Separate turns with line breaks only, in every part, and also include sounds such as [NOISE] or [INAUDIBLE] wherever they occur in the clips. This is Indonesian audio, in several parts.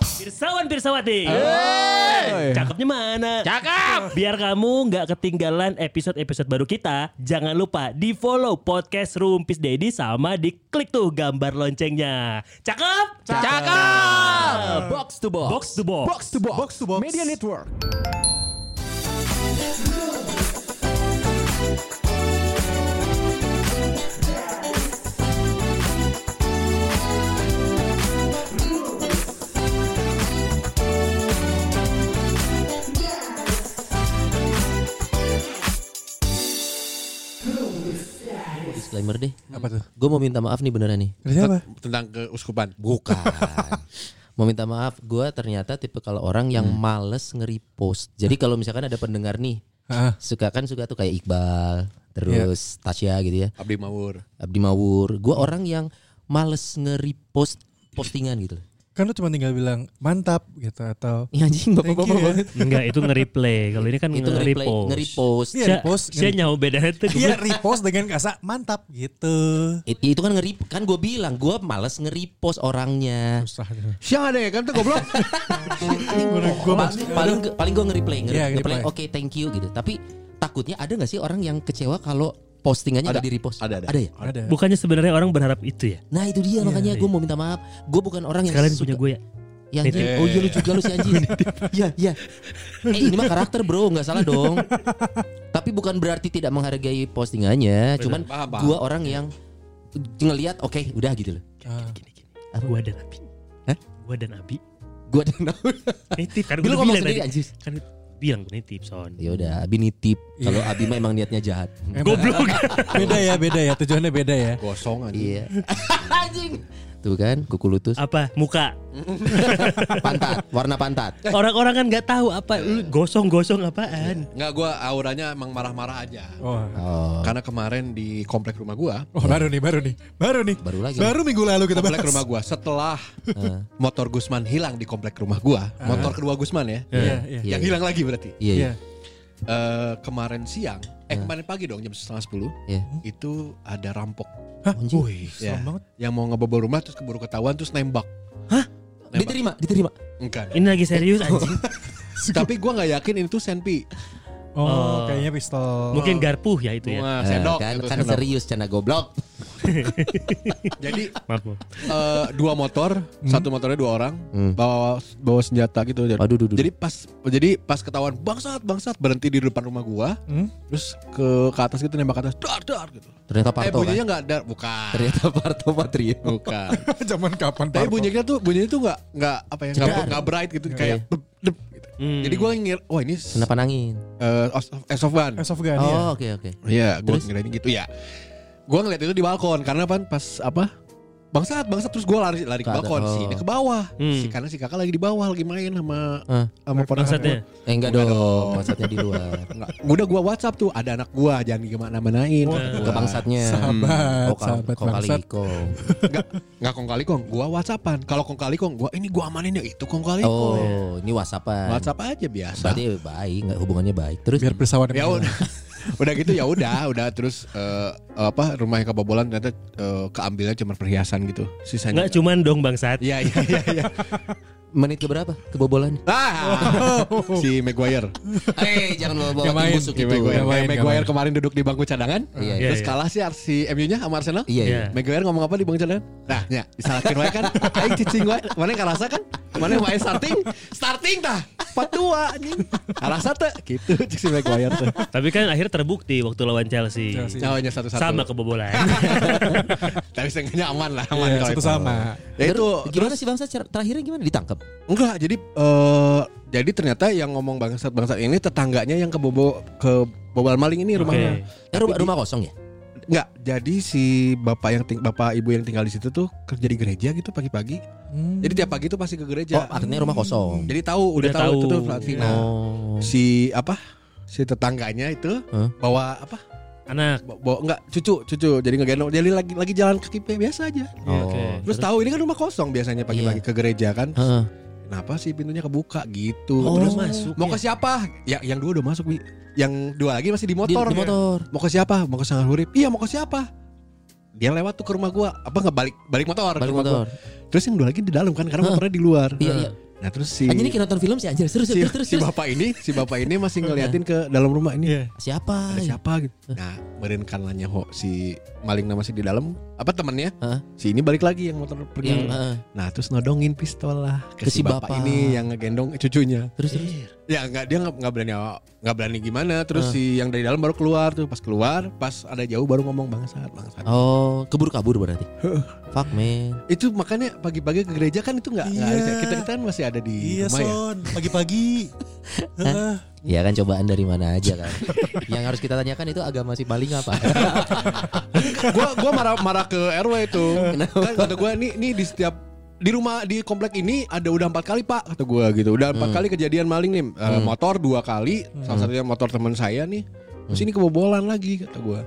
Pirsawan Pirsawati. Cakepnya mana?
Cakep.
Biar kamu nggak ketinggalan episode-episode baru kita, jangan lupa di follow podcast Rumpis Dedi sama diklik tuh gambar loncengnya. Cakep?
Cakep. Box to box.
Box to box.
Box to box.
Box to box.
Media Network.
Disclaimer deh.
Apa tuh?
Gue mau minta maaf nih beneran nih.
Iya,
Dari siapa?
tentang keuskupan.
Bukan. mau minta maaf, gue ternyata tipe kalau orang yang
Hmm.
males nge-repost. Jadi kalau misalkan ada pendengar nih,
Ah.
suka kan suka tuh kayak Iqbal,
Iya.
terus Tasya gitu ya,
[LAUGHS] Abdi Mawur.
Abdi Mawur. Gue orang yang males nge-repost postingan gitu. loh.
Kan lu cuma tinggal bilang mantap gitu atau
Ya anjing
Thank you, ya.
bapak-bapak.
Enggak, itu nge-replay. Kalau ini kan
Itu nge-replay,
nge-repost.
nge-repost.
Iya,
Saya-
repost,
Saya
nge-
nyawa beda itu.
Iya repost dengan kasa mantap gitu.
It- itu kan ngeri kan gue bilang gue males nge-repost orangnya.
Susah.
Siang ada ya kan tuh [LAUGHS] goblok.
Gue
Pa- paling ge- paling gue nge-replay, nge-
Iya,
nge-replay,
nge-replay.
oke thank you gitu. Tapi takutnya ada nggak sih orang yang kecewa kalau postingannya
Ada,
nggak di-repost?
ada, ada.
ya?
ada.
Bukannya sebenarnya orang berharap itu ya?
Nah itu dia makanya gue mau minta maaf. Gue bukan orang yang
Kalian
suka-
punya gue ya?
Ya, anjing. Oh iya lu juga lu si anjing. Iya iya. Eh ini mah karakter bro nggak salah dong. Tapi bukan berarti tidak menghargai postingannya. Cuman
paham, paham.
gue orang yang ngelihat oke udah gitu loh.
Ah.
Gini-gini. Gue dan Abi.
Hah?
Gue dan Abi.
Gue dan
Nitip kan
Lu
gue udah
ngomong
bilang tadi.
sendiri, anjir.
Kan bilang gue nitip son.
[LAUGHS] Ya udah Abi nitip. Kalau Abi mah emang niatnya jahat.
Emang
Goblok.
Eh, [LAUGHS] Beda ya, beda ya. Tujuannya beda ya.
Gosong aja.
Iya. anjing. Tuh kan kuku lutus
Apa? Muka.
pantat warna pantat.
Orang-orang kan nggak tahu apa lu gosong-gosong apaan.
Enggak gua auranya emang marah-marah aja.
Oh.
Oh.
Karena kemarin di komplek rumah gua,
Oh baru nih, baru nih, baru nih,
Baru lagi.
baru minggu lalu kita bahas.
komplek rumah gua setelah motor Gusman hilang di komplek rumah gua, motor kedua Gusman ya.
Iya, iya.
Iya,
Yang
iya.
hilang lagi berarti.
Iya iya.
Iya.
Eh, kemarin siang, eh kemarin pagi dong jam setengah sepuluh,
Iya.
itu ada rampok.
Hah?
Anjing.
Wih,
Ya,
serem banget.
yang mau ngebobol rumah terus keburu ketahuan terus nembak. Nembak.
Iya. Diterima diterima.
Enggak.
Ini lagi serius anjing.
Tapi gua nggak yakin itu senpi.
Oh,
Oh.
kayaknya pistol.
Mungkin garpuh ya itu ya.
Eh,
Wah, sendok.
kan
itu
kan
sendok.
serius cana goblok.
Jadi
[LAUGHS]
Maaf. maaf.
eh dua motor, satu motornya dua orang
Hmm.
bawa bawa senjata gitu. Jadi,
Aduh, duh, duh.
jadi pas jadi pas ketahuan bangsat bangsat berhenti di depan rumah gua,
Hmm?
terus ke ke atas gitu nembak ke atas, dar dar gitu.
Ternyata
eh
Parto kan.
bunyinya nggak dar, bukan.
Ternyata Parto Patrio. [LAUGHS]
Bukan.
Zaman kapan?
Tapi
Parto?
bunyinya tuh bunyinya tuh nggak nggak apa ya nggak
Cedar.
nggak bright gitu kayak dep, dep, gitu. Jadi gua ngir, wah ini s-
Kenapa nangin?
eh, Os- S of One.
Eh, Sofgan ya.
Oh oke oke.
Iya, gue
Terus?
ngirain gitu ya. Gue ngeliat itu di balkon karena apa? Pas apa? Bangsat, bangsat terus gue lari lari ke
Ke atas,
balkon sih,
oh.
dia ke bawah.
Hmm.
Si karena si kakak lagi di bawah lagi main sama
Hah?
sama ponakan
Bangsatnya.
Eh, enggak
Enggak
dong, bangsatnya di [LAUGHS] luar.
gua. Nggak, Udah gue WhatsApp tuh ada anak gue jangan gimana manain.
Ke bangsatnya. Hmm.
Sahabat,
Kok-
sahabat
kok Oh, kali
bangsat.
kong.
Nggak nggak kong kali kong. Gue WhatsAppan. Kalau kong kali kong, gue ini gue amanin ya itu kong kali kong.
Oh, ini WhatsAppan.
WhatsApp aja biasa.
Berarti eh, baik, enggak hubungannya baik. Terus
Biar bersawan.
Ya udah. [LAUGHS] udah gitu ya udah, udah terus eh, apa rumah yang kebobolan ternyata eh, keambilnya cuma perhiasan gitu. Sisanya
Nggak cuman dong bangsat.
Iya iya iya iya.
menit ke berapa [LAUGHS] kebobolan?
Ah, si Maguire.
Eh, jangan bawa-bawa
Yang
tim
main,
busuk
Si
itu.
Nggak main,
Maguire, Kayak
nggak
Maguire
main.
kemarin duduk di bangku cadangan.
Iya,
iya.
Terus kalah sih RC MU-nya sama Arsenal.
Iya, iya.
Maguire ngomong apa di bangku cadangan? Nah, ya, disalahin wae kan. [LAUGHS] Aing cicing wae. Mana yang ngerasa kan? Mana yang wae starting? Starting tah. Patua anjing. Ngerasa teh gitu cik si Maguire teh.
Tapi kan akhirnya terbukti waktu lawan Chelsea.
Chelsea.
[LAUGHS] Nyawanya satu-satu.
Sama kebobolan.
Tapi seenggaknya aman lah, aman
Iya,
kalau
satu
itu.
sama.
Ya itu
gimana sih bangsa cara- terakhirnya gimana ditangkap?
Enggak, jadi eh jadi ternyata yang ngomong bangsat-bangsat ini tetangganya yang kebobo ke bobal maling ini rumahnya.
Eh, rumah, rumah kosong ya?
Enggak, jadi si bapak yang ting- bapak ibu yang tinggal di situ tuh kerja di gereja gitu pagi-pagi.
Hmm.
Jadi tiap pagi tuh pasti ke
Oh,
gereja.
akhirnya rumah kosong.
Jadi tahu udah,
Udah
tahu, itu
tahu.
tuh flat fee. Nah,
Oh.
si apa? Si tetangganya itu
Huh?
bawa apa?
Anak.
Bawa, bawa- enggak cucu, cucu. Jadi ngegendong jadi lagi lagi jalan kaki biasa aja.
Oh.
Oke.
Terus tahu ini kan rumah kosong biasanya pagi-pagi ke gereja kan.
Heeh.
Kenapa sih pintunya kebuka gitu?
Oh,
Terus
masuk
mau
ya.
ke siapa? Ya, yang dua udah masuk, Bi. Yang dua lagi masih di motor.
Di, di motor.
Mau ke siapa? Mau ke Sangar Hurip. Iya, mau ke siapa? Dia lewat tuh ke rumah gua. Apa nggak balik balik motor? ke
Balik
rumah
motor.
Gua. Terus yang dua lagi di dalam kan karena motornya di luar.
Iya, iya.
Nah terus si
Anjir ini kayak nonton film sih anjir. Terus
si,
terus terus.
si
terus. Iya.
bapak ini, si bapak ini masih ngeliatin ke dalam rumah ini.
Iya.
Siapa?
Ada siapa gitu. Nah, beren kanlanya ho si maling nama si di dalam apa temannya?
Heeh.
Si ini balik lagi yang motor pergi.
Yang heeh.
Nah, terus nodongin pistol lah
Iya. Ke
ke, si
si
bapak,
bapak.
ini yang ngegendong cucunya.
terus terus.
Ya nggak dia nggak nggak berani aw- nggak berani gimana. Terus
Ah.
si yang dari dalam baru keluar tuh pas keluar pas ada jauh baru ngomong bangsat bangsat.
Oh, keburu-kabur berarti. Fuck man.
Itu makanya pagi-pagi ke gereja kan itu nggak nggak
Iya.
harusnya. kita kita kan masih ada di
Iya
rumah ya.
son, pagi-pagi. Heeh.
Ya kan cobaan dari mana aja
[LAUGHS]
kan. Yang harus kita tanyakan itu agama si paling apa? [LAUGHS]
gua gua marah marah ke RW itu. kan kata gua nih nih di setiap di rumah di komplek ini ada udah empat kali pak kata gua gitu udah
Hmm.
empat kali kejadian maling nih Eh, motor dua kali salah satunya motor teman saya nih terus
Hmm.
ini kebobolan lagi kata gua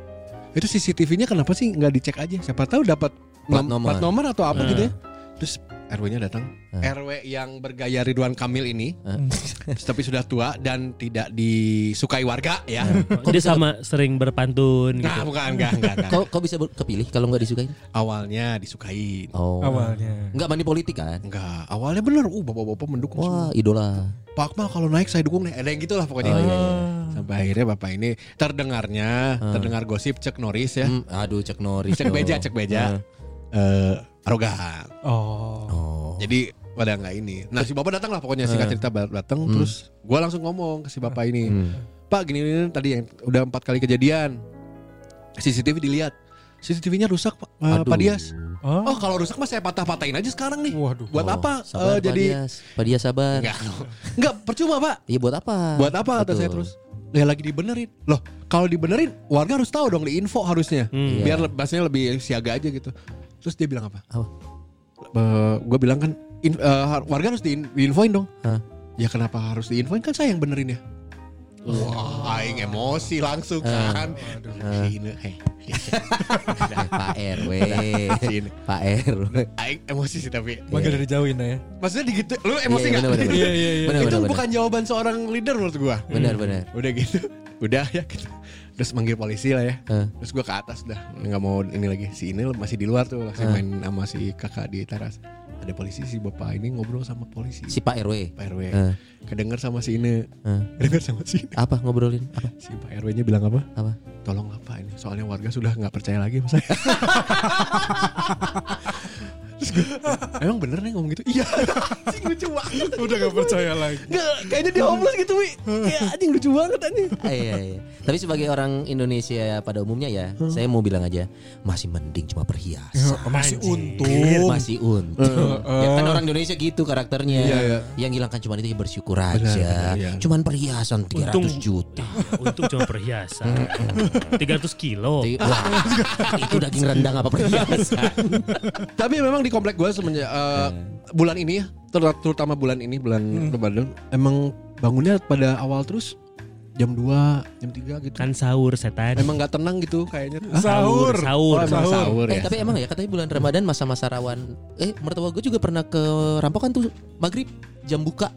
itu CCTV-nya kenapa sih nggak dicek aja siapa tahu dapat
Plat nomor.
nom-
Hmm.
plat nomor atau apa gitu ya terus RW-nya datang RW yang bergaya Ridwan Kamil ini
Hmm.
[LAUGHS] tapi sudah tua dan tidak disukai warga ya
Hmm.
Dia sama sering berpantun
nah
gitu.
bukan enggak enggak, enggak.
Kau kau bisa ber- kepilih kalau nggak disukain?
awalnya disukai
Oh.
Awalnya.
Enggak mani politik kan?
Enggak, awalnya bener. Uh, bapak-bapak mendukung semua.
Wah, idola.
Pak Akmal kalau naik saya dukung deh. Ada yang gitulah pokoknya.
Oh, iya, Ah.
Sampai akhirnya bapak ini terdengarnya, terdengar gosip cek Norris ya.
Hmm, aduh Cek Norris.
Cek
dong. Ah.
beja, cek beja. Eh, arogan.
Oh.
Oh.
Jadi pada nggak ini. Nah si bapak datang lah pokoknya
Ah.
singkat cerita bat- datang.
Hmm.
Terus gua langsung ngomong ke si bapak ini. Pak gini, gini tadi yang udah empat kali kejadian. CCTV dilihat. CCTV-nya rusak Pak, Eh, Pak
Aduh.
Dias.
Oh.
Oh kalau rusak mah saya patah-patahin aja sekarang nih.
Waduh.
Buat
Oh,
apa?
Sabar,
Eh, jadi
Pak Dias. Pak Dias sabar.
Enggak. Enggak, percuma, Pak.
Iya buat apa?
Buat apa kata
Betul.
saya terus? Ya lagi dibenerin. Loh, kalau dibenerin warga harus tahu dong di info harusnya.
Hmm.
Biar
Iya.
le- bahasanya lebih siaga aja gitu. Terus dia bilang apa? [LAUGHS]
Apa?
gue bilang kan in- eh, har- warga harus diin- diinfoin dong.
Hah?
Ya kenapa harus diinfoin kan saya yang benerin ya. Wah, aing emosi langsung kan. Ini, eh, heh.
Eh, Pak RW.
Sini.
Pak RW.
Aing emosi sih tapi.
Iya.
Manggil dari jauh ini ya.
Maksudnya digitu, lu emosi nggak?
Benar
[LAUGHS]
benar.
Iya, iya, iya.
Benar
Itu
benar.
bukan jawaban seorang leader menurut gua.
Benar benar.
udah gitu [LAUGHS] udah ya gitu terus manggil polisi lah ya
Eh.
terus gue ke atas dah nggak mau ini lagi si ini masih di luar tuh masih main sama si kakak di teras ada polisi si bapak ini ngobrol sama polisi
Si Pak RW.
Pak RW
Eh.
kedenger sama si ini
Eh.
kedenger sama si ini
Apa ngobrolin? Apa?
si Pak RW nya bilang apa
Apa?
tolong lah Pak ini soalnya warga sudah nggak percaya lagi sama saya [LAUGHS] terus gue emang bener nih ngomong gitu iya [LAUGHS] sih lucu banget
Udah gak percaya lagi.
Nggak, kayaknya dia homeless gitu wi kayak anjing lucu banget anjing
Ah, iya, iya. Tapi sebagai orang Indonesia pada umumnya ya,
Hmm.
saya mau bilang aja masih mending cuma perhiasan.
Masih
Ya,
Anjir,
untung.
masih untung. ya kan orang Indonesia gitu karakternya.
Eh, Iya, iya.
Yang hilangkan cuma itu ya bersyukur aja.
benar, iya.
Cuman perhiasan 300
Untung.
juta.
Untung cuma perhiasan. 300
Oh.
kilo.
Jadi,
[LAUGHS]
wah, itu daging rendang apa perhiasan?
Tapi memang di komplek gue semenjak eh, bulan ini ya, ter- terutama bulan ini bulan Ramadan, emang bangunnya pada awal terus jam 2, jam 3 gitu.
Kan sahur setan.
Emang nggak tenang gitu kayaknya. Hah?
Sahur.
Sahur.
Oh, emang
Sahur.
sahur
eh,
ya.
tapi emang ya katanya bulan Ramadan masa-masa rawan. Eh, mertua gue juga pernah ke rampokan tuh maghrib jam buka.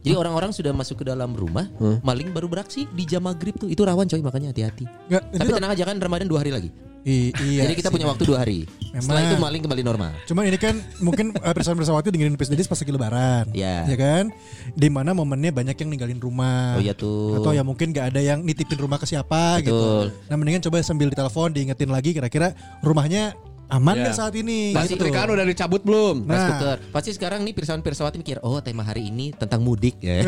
Jadi orang-orang sudah masuk ke dalam rumah, maling baru beraksi di jam maghrib tuh. Itu rawan coy, makanya hati-hati.
Nggak, itu
Tapi tenang aja kan Ramadan dua hari lagi.
I- Eh, iya.
Jadi kita
sih.
punya waktu dua hari.
Memang.
Setelah itu maling kembali normal.
Cuma ini kan mungkin eh, Prisma Prismawati dengerin Pis Dedis pas lagi lebaran.
Iya.
Ya kan? Di mana momennya banyak yang ninggalin rumah.
Oh iya tuh.
Nah, Atau ya mungkin gak ada yang nitipin rumah ke siapa gitu.
Betul.
Nah, mendingan coba sambil ditelepon diingetin lagi kira-kira rumahnya aman
Iya.
nggak
Ya.
saat ini? Gitu.
Nasi terikaan udah dicabut belum?
Nah.
Rice cooker. Pasti sekarang nih pirsawan pirsawati mikir, oh tema hari ini tentang mudik
[LAUGHS]
ya.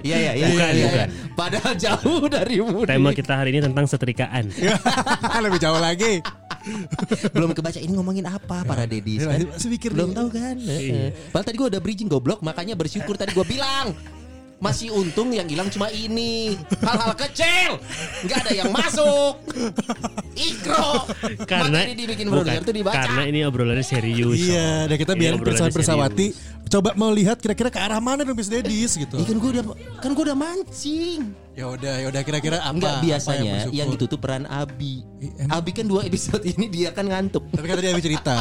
Iya iya iya.
Bukan,
iya,
bukan.
iya. Padahal jauh dari mudik.
Tema kita hari ini tentang setrikaan.
[LAUGHS] Lebih jauh lagi.
Belum kebaca ini ngomongin apa para dedis.
Iya,
kan?
masih- masih mikir
Belum
nih.
tahu kan? Heeh. Padahal tadi gue udah bridging goblok, makanya bersyukur tadi gue bilang. Masih untung yang hilang cuma ini. Hal-hal kecil. nggak ada yang masuk. Ikro.
Karena
makanya dibikin browser
bukan,
tuh dibaca.
Karena ini obrolannya serius.
Iya, dan kita
Ini
biar
obrolannya
Pirsawan Pirsawati
serius.
coba melihat kira-kira ke arah mana dong Pis Dedis gitu.
Ini kan gue udah kan gue udah mancing.
Ya udah, ya udah kira-kira apa?
Enggak
apa
biasanya
bersyukur?
yang, ditutup peran Abi.
Iya, emang.
Abi kan dua episode ini dia kan ngantuk.
Tapi kan tadi Abi cerita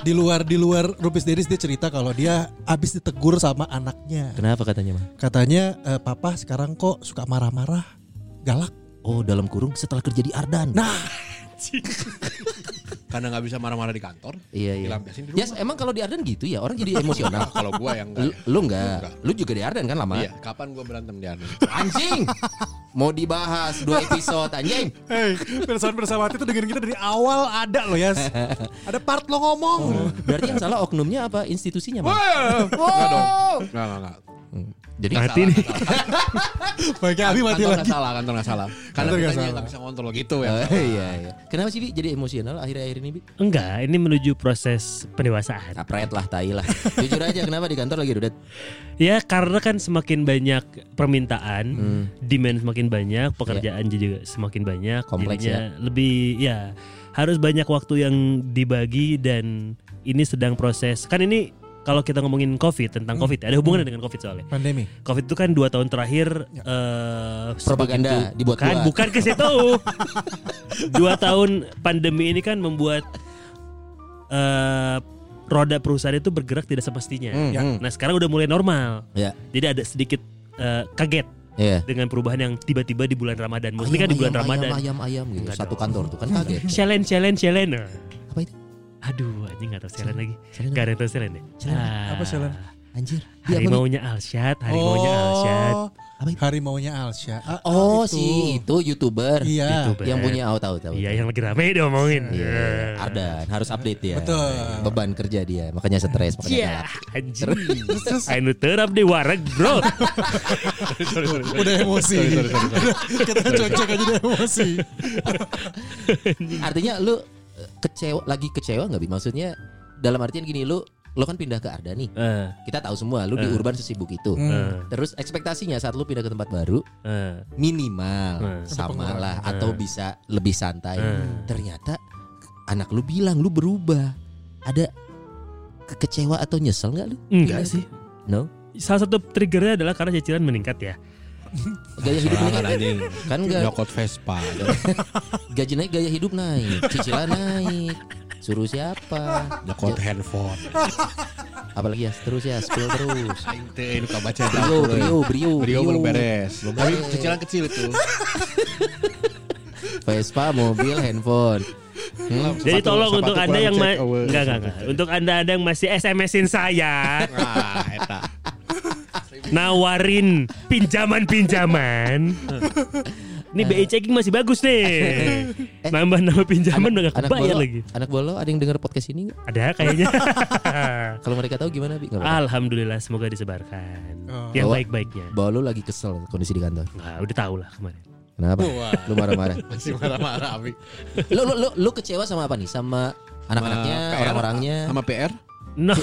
di luar di luar Rupis Dedis dia cerita kalau dia abis ditegur sama anaknya.
Kenapa katanya mah?
Katanya "Eh, papa sekarang kok suka marah-marah, galak.
Nah. Oh dalam kurung setelah kerja di Ardan.
Nah,
karena nggak bisa marah-marah di kantor
Iya iya.
dilampiasin di rumah
Yes, emang kalau di Arden gitu ya orang jadi emosional.
[LAUGHS] kalau gua yang
lu,
enggak ya.
lu enggak, lu juga di Arden kan lama.
Iya, kapan gua berantem di
Oh!
Arden?
Anjing. Mau dibahas dua episode anjing.
Hey, persoalan bersama itu dengerin kita dari awal ada loh ya. Ada part lo
[LAUGHS]
ngomong.
Berarti yang salah oknumnya apa institusinya, Bang?
Oh,
Hmm.
Enggak dong. Enggak, enggak, enggak.
Jadi
Ngerti nih.
Baiknya Abi mati lagi.
Kantor nggak
kan,
salah, kantor nggak salah. Karena
Kantor nggak
kita
salah.
nggak bisa kontrol gitu ya.
Oh, iya iya. Kenapa sih Bi jadi emosional akhir-akhir ini Bi?
Enggak, ini menuju proses pendewasaan.
Kapret lah, tai lah. Jujur aja kenapa di kantor lagi Dudet?
Ya karena kan semakin banyak permintaan, demand semakin banyak, pekerjaan juga semakin banyak,
Kompleks
jadinya lebih ya harus banyak waktu yang dibagi dan ini sedang proses. Kan ini kalau kita ngomongin COVID tentang COVID ada hubungannya dengan COVID soalnya.
Pandemi.
COVID itu kan dua tahun terakhir eh,
Propaganda
sebegitu-
dibuat
kan
kuat.
bukan ke situ. dua tahun pandemi ini kan membuat eh, roda perusahaan itu bergerak tidak semestinya.
Hmm,
Ya.
Nah sekarang udah mulai normal.
Ya.
Jadi ada sedikit eh, kaget
Iya.
dengan perubahan yang tiba-tiba di bulan Ramadan. Mostly kan di bulan
ayam,
Ramadan.
Ayam, ayam, ayam gitu.
Enggak
Satu
dong.
kantor tuh kan kaget.
Challenge, challenge, challenge.
Apa itu?
Nah. Aduh, anjing gak tau challenge lagi.
Challenge
Gak ada yang tau challenge ya?
Challenge.
Ah,
Apa challenge?
Anjir. Bi, Iya, apa, Oh. Bi?
Harimaunya Alsyad, harimaunya Alsyad.
Apa itu?
Hari maunya Alsya. Oh. Ah,
Oh,
itu.
si itu YouTuber.
Iya.
YouTuber.
Yang punya oh, out out out.
Iya, yang lagi rame diomongin.
Iya, Ardan harus update dia.
Betul.
Beban kerja dia, makanya stres, makanya
Ya,
galak.
anjing. Anu terap di wareg, bro.
[LAUGHS] Udah emosi. [LAUGHS] kita cocok aja udah emosi.
Artinya lu eh, kecewa lagi kecewa nggak bi? Maksudnya dalam artian gini lu lu kan pindah ke Ardan nih.
Eh,
Kita tahu semua lu di urban sesibuk itu.
eh,
Terus ekspektasinya saat lu pindah ke tempat baru
eh. Hmm.
minimal sama
Pengeluaran.
lah atau bisa lebih santai.
Hmm.
Ternyata anak lu bilang lu berubah. Ada kekecewa atau nyesel nggak lu?
Enggak
Pindah
Iya sih.
ke- No.
Salah satu triggernya adalah karena cicilan meningkat ya.
Gaya hidup
Jangan
naik.
anjing.
Kan enggak
Nyokot Vespa.
gaji naik gaya hidup naik cicilan naik suruh siapa
Nyokot handphone.
apalagi ya terus ya spill terus
Aing teh nu kabaca
brio brio brio
Brio belum beres.
Belum
Tapi
beres.
cicilan kecil itu.
Vespa mobil handphone Hmm,
Jadi
Sepatu-
tolong
sepatu
untuk
kurang
anda yang
check
ma-
over.
enggak, enggak, enggak. Untuk anda-anda yang masih SMS-in saya
Ah, eta.
nawarin pinjaman-pinjaman. Ini BI checking masih bagus nih. Nambah nama pinjaman udah gak
anak
kebayar
bolo
lagi.
anak bolo ada yang dengar podcast ini nggak?
Ada kayaknya. [LAUGHS]
kalau mereka tahu gimana bi nggak apa
Alhamdulillah semoga disebarkan.
Oh.
Yang
Bawa-
baik-baiknya.
bolo lagi kesel kondisi di kantor
Enggak, udah tau lah kemarin.
kenapa lu marah-marah
Masih marah-marah Abi.
lu, lu lu lu kecewa sama apa nih sama anak-anaknya
Sama PR,
orang-orangnya
Eh, Sama PR?
Iya.
No.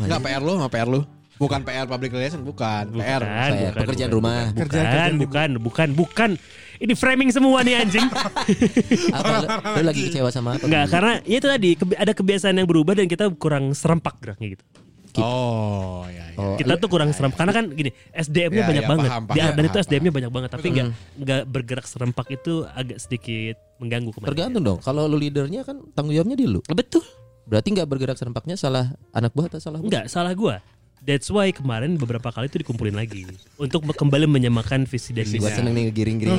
Enggak PR lu sama PR lu. Bukan PR public relation, bukan.
Bukan,
PR.
PR,
bukan,
pekerjaan
bukan.
rumah
Bukan, bukan, bukan, bukan. Ini framing semua nih
[LAUGHS]
anjing.
apa lu, lu lagi kecewa sama apa
Enggak,
Bi?
karena ya itu tadi kebi- ada kebiasaan yang berubah dan kita kurang serempak geraknya gitu.
Oh, ya, ya.
Oh,
kita tuh kurang serempak karena kan gini SDM-nya
Ya,
banyak
ya,
banget
paham,
di
paham,
Ardan itu
paham, Hmm.
SDM-nya banyak banget tapi nggak nggak bergerak serempak itu agak sedikit mengganggu kemarin
Tergantung dong. Kalau lu leadernya kan tanggung jawabnya di lu. Betul. Berarti nggak bergerak serempaknya salah anak buah atau salah buah?
nggak salah gua that's why kemarin beberapa kali itu dikumpulin lagi untuk me- kembali menyamakan visi dan
Iya.
Gua
misi
seneng nih giring-giring.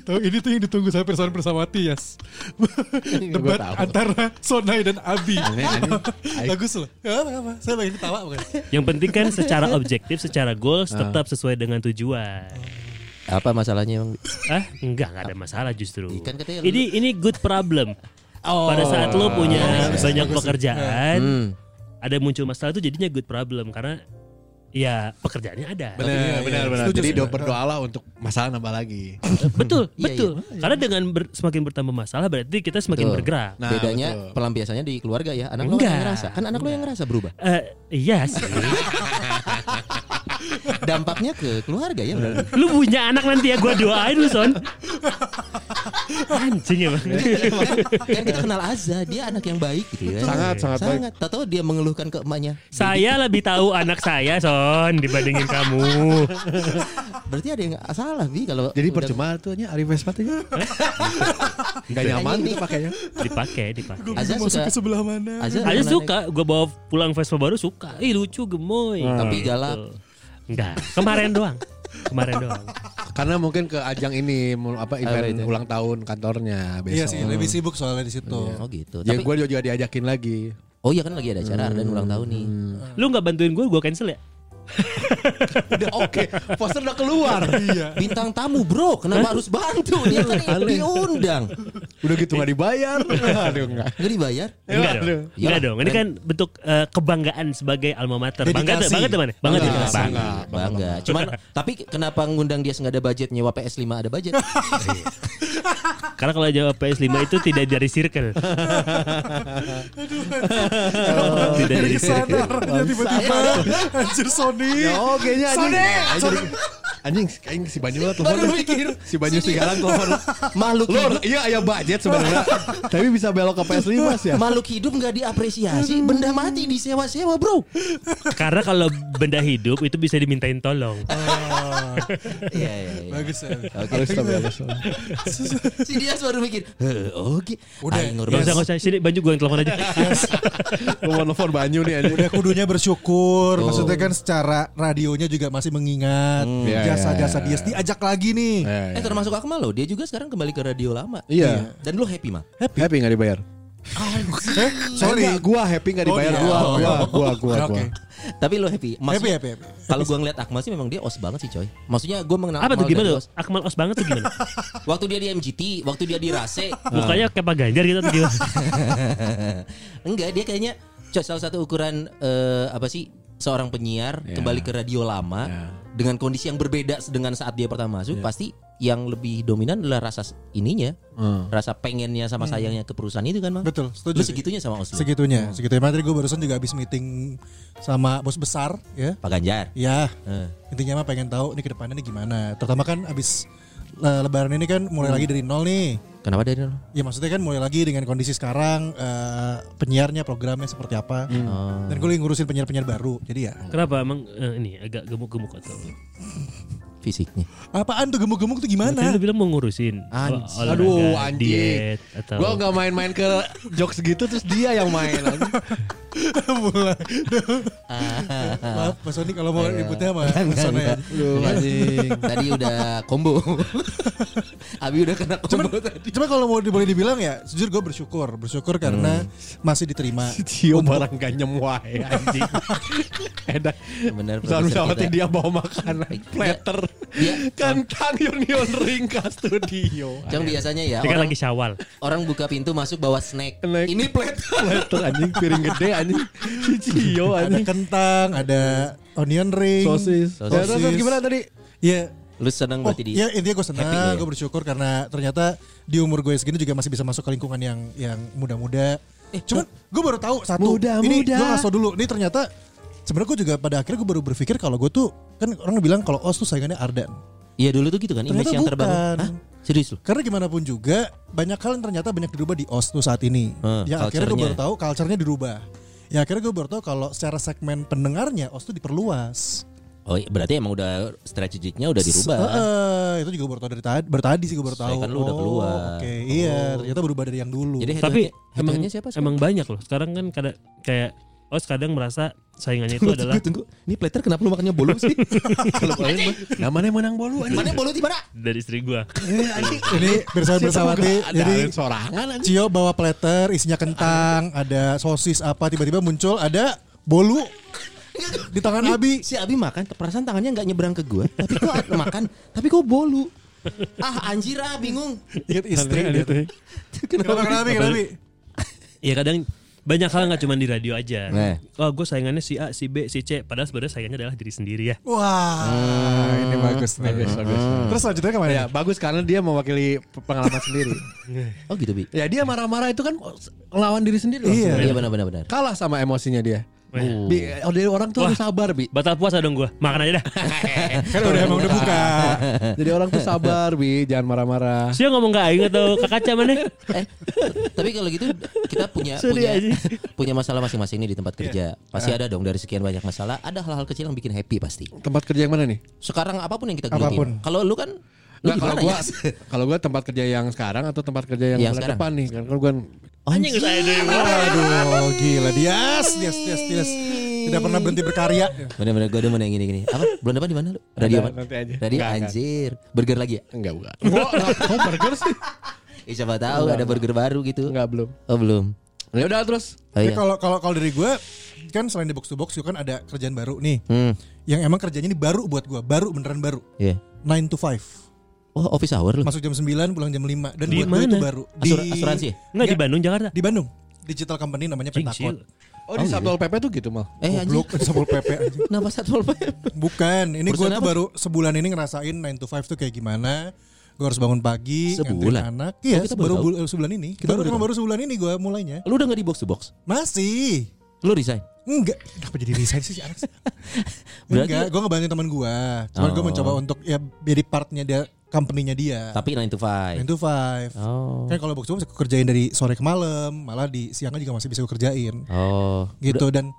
Tahu ini tuh yang ditunggu sama persoalan bersamawati Yas. Debat
tahu.
antara Sonai dan Abi.
Aneh, aneh. Aing-
Bagus loh. Ya, apa, apa. Saya lagi ketawa bukan?
yang penting kan
[LAUGHS]
secara objektif secara goals
Ah.
tetap sesuai dengan tujuan
Apa masalahnya emang?
ah enggak nggak ada masalah justru
Ikan katanya kan lu- Oh. iya,
ini ini good problem pada saat lo punya banyak pekerjaan
Hmm.
ada muncul masalah itu jadinya good problem karena ya pekerjaannya ada
iya,
Benar, benar, benar.
Setuju,
Jadi
setuju.
berdoalah untuk masalah nambah lagi.
[LAUGHS]
betul
Iya,
betul karena dengan ber- semakin bertambah masalah berarti kita semakin
Betul.
bergerak
Nah,
Bedanya
betul.
pelampiasannya di keluarga ya. Anak lu kan yang
Enggak.
ngerasa. Kan anak lu yang ngerasa berubah.
Eh, iya sih
Dampaknya ke keluarga ya berarti.
lu punya anak nanti ya gua doain lu son anjing
[LAUGHS]
emang
kan kita kenal Azza, dia anak yang baik gitu ya.
Sangat, sangat baik.
Sangat. Tahu dia mengeluhkan ke emaknya.
saya lebih tahu anak saya son dibandingin kamu
Berarti ada yang salah Bi kalau
Jadi
udah-
percuma tuh nya Arif Vespa tuh
[LAUGHS]
nya. Enggak nyaman gitu pakainya.
dipakai dipakai
Azza
Gua masuk
suka
ke sebelah mana?
Azza
aja
pernah
suka gua bawa pulang Vespa baru suka ih lucu gemoy
Tapi
Hmm.
Gitu.
galak.
enggak kemarin doang kemarin doang
naik-
Karena mungkin ke ajang ini mul- apa event
itu.
ulang tahun kantornya besok.
Iya sih, lebih sibuk soalnya di situ.
[LAUGHS]
Oh gitu.
Ya
Tapi
gue juga diajakin lagi.
oh iya kan lagi ada acara Ardan ulang tahun nih.
Hmm.
Lu nggak bantuin gue, gue cancel ya?
Udah oke, poster udah keluar. [LAUGHS] Iya.
Bintang tamu bro, kenapa harus bantu? Dia
[LAUGHS]
kan diundang,
Udah gitu nggak dibayar. Aduh enggak.
nggak dibayar.
Enggak
Iya,
dong.
aduh.
Enggak
Iyalah,
dong. Ini
keren.
kan bentuk eh, kebanggaan sebagai alma mater. Bangga tuh,
Dedikasi.
banget tuh mana? Banget ya.
Dedikasi.
Bangga.
Enggak.
Bangga. Cuman tapi kenapa ngundang dia nggak ada budget nyewa PS5 ada budget?
Karena kalau jawab PS5 itu tidak dari circle. Oh, tidak dari
Dari
[LAUGHS]
sana
circle.
arahnya tiba-tiba Anjir Sony
Ya oke nya anjing. Nah,
Sony
Anjing, Anjing, anjing si Banyu lah telepon.
Baru mikir.
Si Banyu Sigalang telepon.
Makhluk
Lur,
hidup,
iya iya budget sebenarnya. Tapi bisa belok ke PS5 sih ya.
makhluk hidup nggak diapresiasi, benda mati disewa-sewa bro.
Karena kalau benda hidup itu bisa dimintain tolong.
Iya iya. iya.
Bagus ya
Harus tapi harus.
Si Dias baru mikir, "Heh, oke.
Udah,
Gak
Aing ngurus.
usah, gak usah. Sini Banyu gue yang telepon aja.
Nomor telepon Banyu nih anjing.
Udah Ya, kudunya bersyukur Maksudnya kan secara radionya juga masih mengingat
Iya,
Jasa-jasa
iya,
dia Diajak lagi nih
Ya, ya.
Eh termasuk Akmal loh, dia juga sekarang kembali ke radio lama.
Iya.
Dan lu happy mah?
Happy. Happy gak dibayar?
Eh
Sorry,
sorry
gua happy gak dibayar.
Oh, iya.
Gua,
Oh,
gua,
iya.
gua, gua,
Oke,
gua.
oke.
Tapi lu happy.
Happy
Maksudnya,
happy happy
Kalau gua ngeliat Akmal sih memang dia os banget sih coy. Maksudnya gua mengenal
Apa tuh
Akmal dari
gimana?
os.
tuh? Akmal Os banget tuh gimana?
Waktu dia di MGT, waktu dia di Rase,
[LAUGHS]
Ah.
Mukanya kayak Pak Ganjar gitu atau gimana? [LAUGHS]
[LAUGHS] enggak dia kayaknya coy, salah satu ukuran eh, apa sih seorang penyiar
Ya.
kembali ke radio lama
Ya.
dengan kondisi yang berbeda dengan saat dia pertama masuk pasti yang lebih dominan adalah rasa s- ininya,
Hmm.
rasa pengennya sama
Hmm.
sayangnya ke perusahaan itu kan, Mang.
Betul
Lu
setuju sih.
segitunya sama Os. lu?
Segitunya Segitunya Materi gue barusan juga habis meeting Sama bos besar Ya
Pak Ganjar.
Ya
Eh.
Intinya mah pengen tahu nih ke depannya nih gimana Terutama kan abis eh, Lebaran ini kan mulai lagi dari nol nih
Kenapa dari nol?
Ya maksudnya kan mulai lagi dengan kondisi sekarang eh, penyiarnya programnya seperti apa.
Hmm.
Dan gue lagi ngurusin penyiar-penyiar baru. Jadi ya
Kenapa emang eh, ini agak gemuk-gemuk atau?
Nah. Fisiknya.
Oh.
apaan tuh gemuk-gemuk tuh
Tadi
gimana?
lu bilang mau ngurusin
Anj-
ol- olahraga,
Aduh, anjing.
diet atau
Gua
ya
gak main-main ke jokes gitu terus dia yang main. anjing.
[LAUGHS]
[LAUGHS]
Mulai.
Ah.
Maaf Pak Sony kalau mau
Iya.
ributnya
[LAUGHS]
sama ya. Pak Sony. aja.
Lu anjing.
Tadi udah combo. Abi udah kena
Cuman,
combo tadi.
cuman kalau mau di- boleh dibilang ya jujur gue bersyukur bersyukur karena
Hmm.
masih
[LAUGHS]
diterima.
Cio barang gak nyemwai
[LAUGHS]
anjing. Enak.
Bener,
Selalu
produser
sawatin
kita.
dia bawa makanan platter.
Dia-
Kentang yunion ring ke studio.
Cuman biasanya ya
Ini kan
orang,
lagi syawal.
orang buka pintu masuk bawa snack.
Snack.
Ini platter.
Platter anjing piring gede anjing. Si Cio
Ada
anjing.
kentang, ada onion ring,
Sosis.
Sosis.
Ya, terus- terus gimana tadi?
Iya.
Lu senang
Oh,
berarti di
ya intinya gue
happy lu
senang,
ya?
gue bersyukur karena ternyata di umur gue segini juga masih bisa masuk ke lingkungan yang yang muda-muda.
Eh,
Cuman gue baru tahu satu,
Muda-muda.
ini gue ngaso dulu. Ini ternyata sebenarnya gue juga pada akhirnya gue baru berpikir kalau gue tuh kan orang bilang kalau os tuh saingannya Ardan.
Iya dulu tuh gitu kan image
Ternyata
yang terbangun.
bukan.
Hah? Serius lu?
Karena gimana pun juga banyak hal yang ternyata banyak dirubah di os tuh saat ini.
Hmm,
yang akhirnya gue
culture-nya.
baru tahu culture-nya dirubah. Ya akhirnya gue baru tahu kalau secara segmen pendengarnya os tuh diperluas.
Oh, iya, berarti emang udah strategiknya udah dirubah.
Heeh, itu juga baru tahu dari tadi, baru tadi sih gue baru tahu.
Saya kan lu udah keluar. Oh.
Oke, iya, ternyata berubah dari yang dulu.
Jadi
Tapi
head-to-headnya-
emang
head-to-headnya siapa sih? [LAUGHS]
emang banyak loh. Sekarang kan kada, kayak Os kadang merasa saingannya itu adalah
tunggu. Ini platter kenapa lu makannya bolu [LAUGHS] sih?
Kalau kalian mah, namanya menang bolu anjing.
Mana bolu di mana?
dari istri
[LAUGHS]
gua.
ini bersama bersawati jadi
jadi sorangan anjing.
Cio bawa platter isinya kentang, ada sosis apa tiba-tiba muncul ada bolu di tangan Abi.
Si Abi makan, perasaan tangannya nggak nyebrang ke gua, tapi kok makan, tapi kok bolu. Ah anjir ah bingung.
Ingat istri.
Iya,
dia. Kenapa kenapa Abi? Kenapa Abi?
Iya kadang banyak hal nggak cuma di radio aja.
Nah.
Oh gue saingannya si A, si B, si C. Padahal sebenarnya saingannya adalah diri sendiri ya.
Wah,
Ah,
ini bagus nih. Terus selanjutnya kemana?
Ya bagus karena dia mewakili pengalaman sendiri.
[LAUGHS]
Oh gitu Bi.
Ya dia marah-marah itu kan lawan diri sendiri loh.
Iya.
Iya benar benar benar.
Kalah sama emosinya dia.
Wah.
Bi, oh, dari orang tuh harus sabar,
[LAUGHS]
Bi.
Batal puasa dong gua. Makan aja dah.
[LAUGHS]
Kan udah emang udah buka.
Jadi orang tuh sabar, Bi, jangan marah-marah.
Siapa ngomong gak aing atau ke kaca
[LAUGHS]
mana?
Eh, tapi kalau gitu kita punya
Sorry
punya
aja.
[LAUGHS] punya masalah masing-masing nih di tempat kerja. Pasti ada dong dari sekian banyak masalah, ada hal-hal kecil yang bikin happy pasti.
Tempat kerja yang mana nih?
Sekarang apapun yang kita
Apapun.
gelutin. Kalau lu kan lu
Nah,
gimana
kalau gua
ya?
[LAUGHS] kalau gua tempat kerja yang sekarang atau tempat kerja yang,
Yang
bulan
sekarang.
depan nih kan kalau gua
Anjing saya dari
Aduh, gila Dias, Dias, Dias, Dias. Tidak pernah berhenti berkarya.
Bener-bener gue demen yang gini-gini. Apa? Bulan depan di mana lu? Radio apa?
nanti aja.
Radio
Nggak, nggak.
anjir. Burger lagi ya?
Enggak bukan. Kok kok burger sih? [LAUGHS]
Eh siapa tahu ada burger baru gitu.
Enggak belum.
Oh belum.
Ya udah terus.
Oh
Tapi
iya.
kalau kalau kalau dari gue kan selain di box to box juga kan ada kerjaan baru nih.
Hmm.
Yang emang kerjanya ini baru buat gue, baru beneran baru.
Iya.
9 to 5.
Oh office hour lu.
Masuk jam 9, pulang jam 5 dan
Di
buat gue itu
mana?
baru.
Asur- asuransi ya?
Enggak di Bandung, Jakarta.
Di Bandung. Digital company namanya Petakot.
Cingsil.
Oh, di Satpol PP tuh gitu, Mal.
Eh anjir.
Goblok, Satpol PP anjing.
Kenapa Satpol PP?
Bukan, ini gue
Urusan
tuh
apa?
baru sebulan ini ngerasain 9 to 5 tuh kayak gimana. Gue harus bangun pagi,
Sebulan? Oh,
nganterin anak. Iya,
kita baru
baru
tahu.
bul- sebulan ini.
Kita
baru
baru
cuma
tahu.
baru sebulan ini gue mulainya.
[LAUGHS] Lu udah gak di box to box?
Masih.
Lu resign?
Enggak, kenapa jadi resign sih si anak
[LAUGHS]
sih?
Berarti-
Enggak, gue ngebantu teman gue. Cuman gue
Oh.
mencoba untuk ya jadi partnya dia, company-nya dia.
Tapi 9 to
9
5.
to 5.
Oh.
Kan kalau box bisa gue kerjain dari sore ke malam, malah di siangnya juga masih bisa gue kerjain.
Oh.
Gitu dan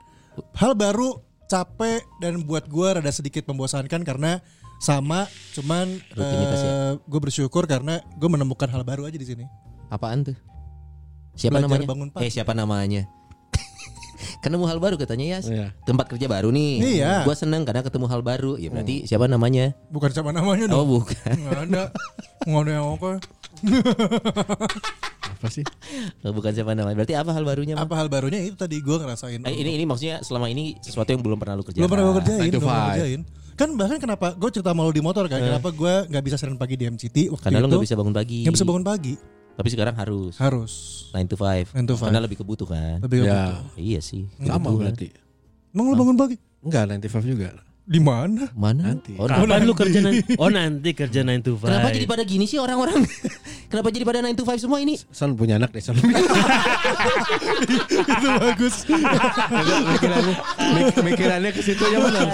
hal baru capek dan buat gue rada sedikit membosankan karena sama cuman
Rutinitas ya?
gue bersyukur karena gue menemukan hal baru aja di sini.
Apaan tuh? Siapa
Belajar
namanya?
bangun pagi.
Eh siapa namanya? [LAUGHS] ketemu hal baru katanya ya.
Iya.
Tempat kerja baru nih.
Iya.
Gua seneng karena ketemu hal baru. Ya berarti siapa namanya?
Bukan sama namanya
Oh
dong.
bukan.
Nggak
[LAUGHS]
ada. Nggak ada yang apa.
Apa sih?
Oh, bukan siapa namanya. Berarti apa hal barunya? Mam?
Apa hal barunya itu tadi gue ngerasain.
Eh, ini ini maksudnya selama ini sesuatu yang belum pernah lu kerjain.
Belum pernah gue kerjain,
Nine to
belum pernah
five.
kerjain. Kan bahkan kenapa gue cerita malu di motor kan, kenapa gue nggak bisa sering pagi di MCT waktu
Karena
itu?
lu nggak bisa bangun pagi.
Gitu. Nggak bisa bangun pagi,
Tapi sekarang harus.
harus
9 to 5.
9 to 5.
Karena lebih kebutuh kan.
lebih ya.
Ya.
Iya sih.
Sama
Kebutuhan.
berarti.
Emang lu bangun pagi?
Enggak, 95 juga.
Di mana?
Mana?
Nanti.
Oh,
Kapan lu kerja nanti? Oh nanti kerja 9 to Iya, 5.
Kenapa jadi pada gini sih orang-orang? [LAUGHS] Kenapa jadi pada 9 to 5 semua ini?
San punya anak deh, San.
itu [LAUGHS] [LAUGHS] bagus.
mikirannya mik- mikirannya ke situ aja benar.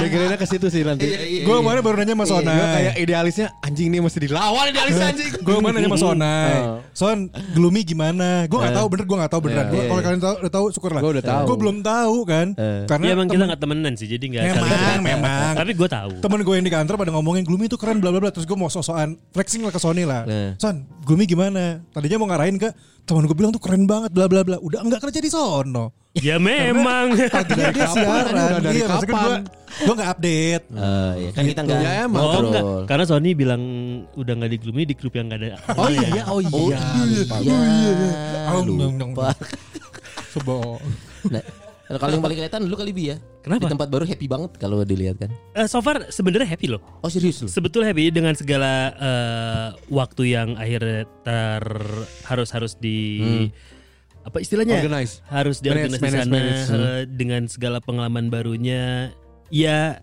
Mikirannya ke situ sih nanti.
gue kemarin baru nanya sama
Iya,
Sona.
gua kayak idealisnya anjing nih mesti dilawan idealis anjing.
Gue kemarin nanya sama Sona. Son, gloomy gimana? Gue nggak tahu bener, gue nggak tahu beneran. Gua- Kalau kalian tahu, udah tahu, syukurlah.
Gua udah tahu.
Gue belum tahu kan, karena
Ya emang kita
temen,
nggak temenan sih, jadi nggak.
Memang,
saling-
memang.
Tapi gue tahu.
temen gue yang di kantor pada ngomongin gloomy itu keren bla bla bla. Terus gue mau sosokan flexing lah ke Sony lah.
Eh.
Son, gloomy gimana? Tadinya mau ngarahin ke teman gue bilang tuh keren banget bla bla bla. Udah nggak kerja di Sono.
Ya memang. [LAUGHS]
Iya dia
kapan?
siaran.
Udah dari
Iya, maksudnya
kapan?
gue gue nggak update.
Eh, iya. Kan kita
Gitu.
enggak.
Ya, emang.
Oh,
Oh
enggak.
enggak, karena Sony bilang udah nggak di Gloomy di grup yang nggak ada.
Oh iya, oh iya.
ya? Iya.
Oh, nong, nong, nong. Sebo.
Nah, kalau yang paling kelihatan lu kali bi ya.
Kenapa?
Di tempat baru happy banget kalau dilihat kan.
Eh, so far sebenarnya happy loh.
Oh serius lu?
Sebetulnya happy dengan segala eh, waktu yang akhirnya ter harus harus di apa istilahnya?
Hmm. Organize.
Harus diorganisasi
Manage,
sana
manage, Hmm. manage.
eh, dengan segala pengalaman barunya. Ya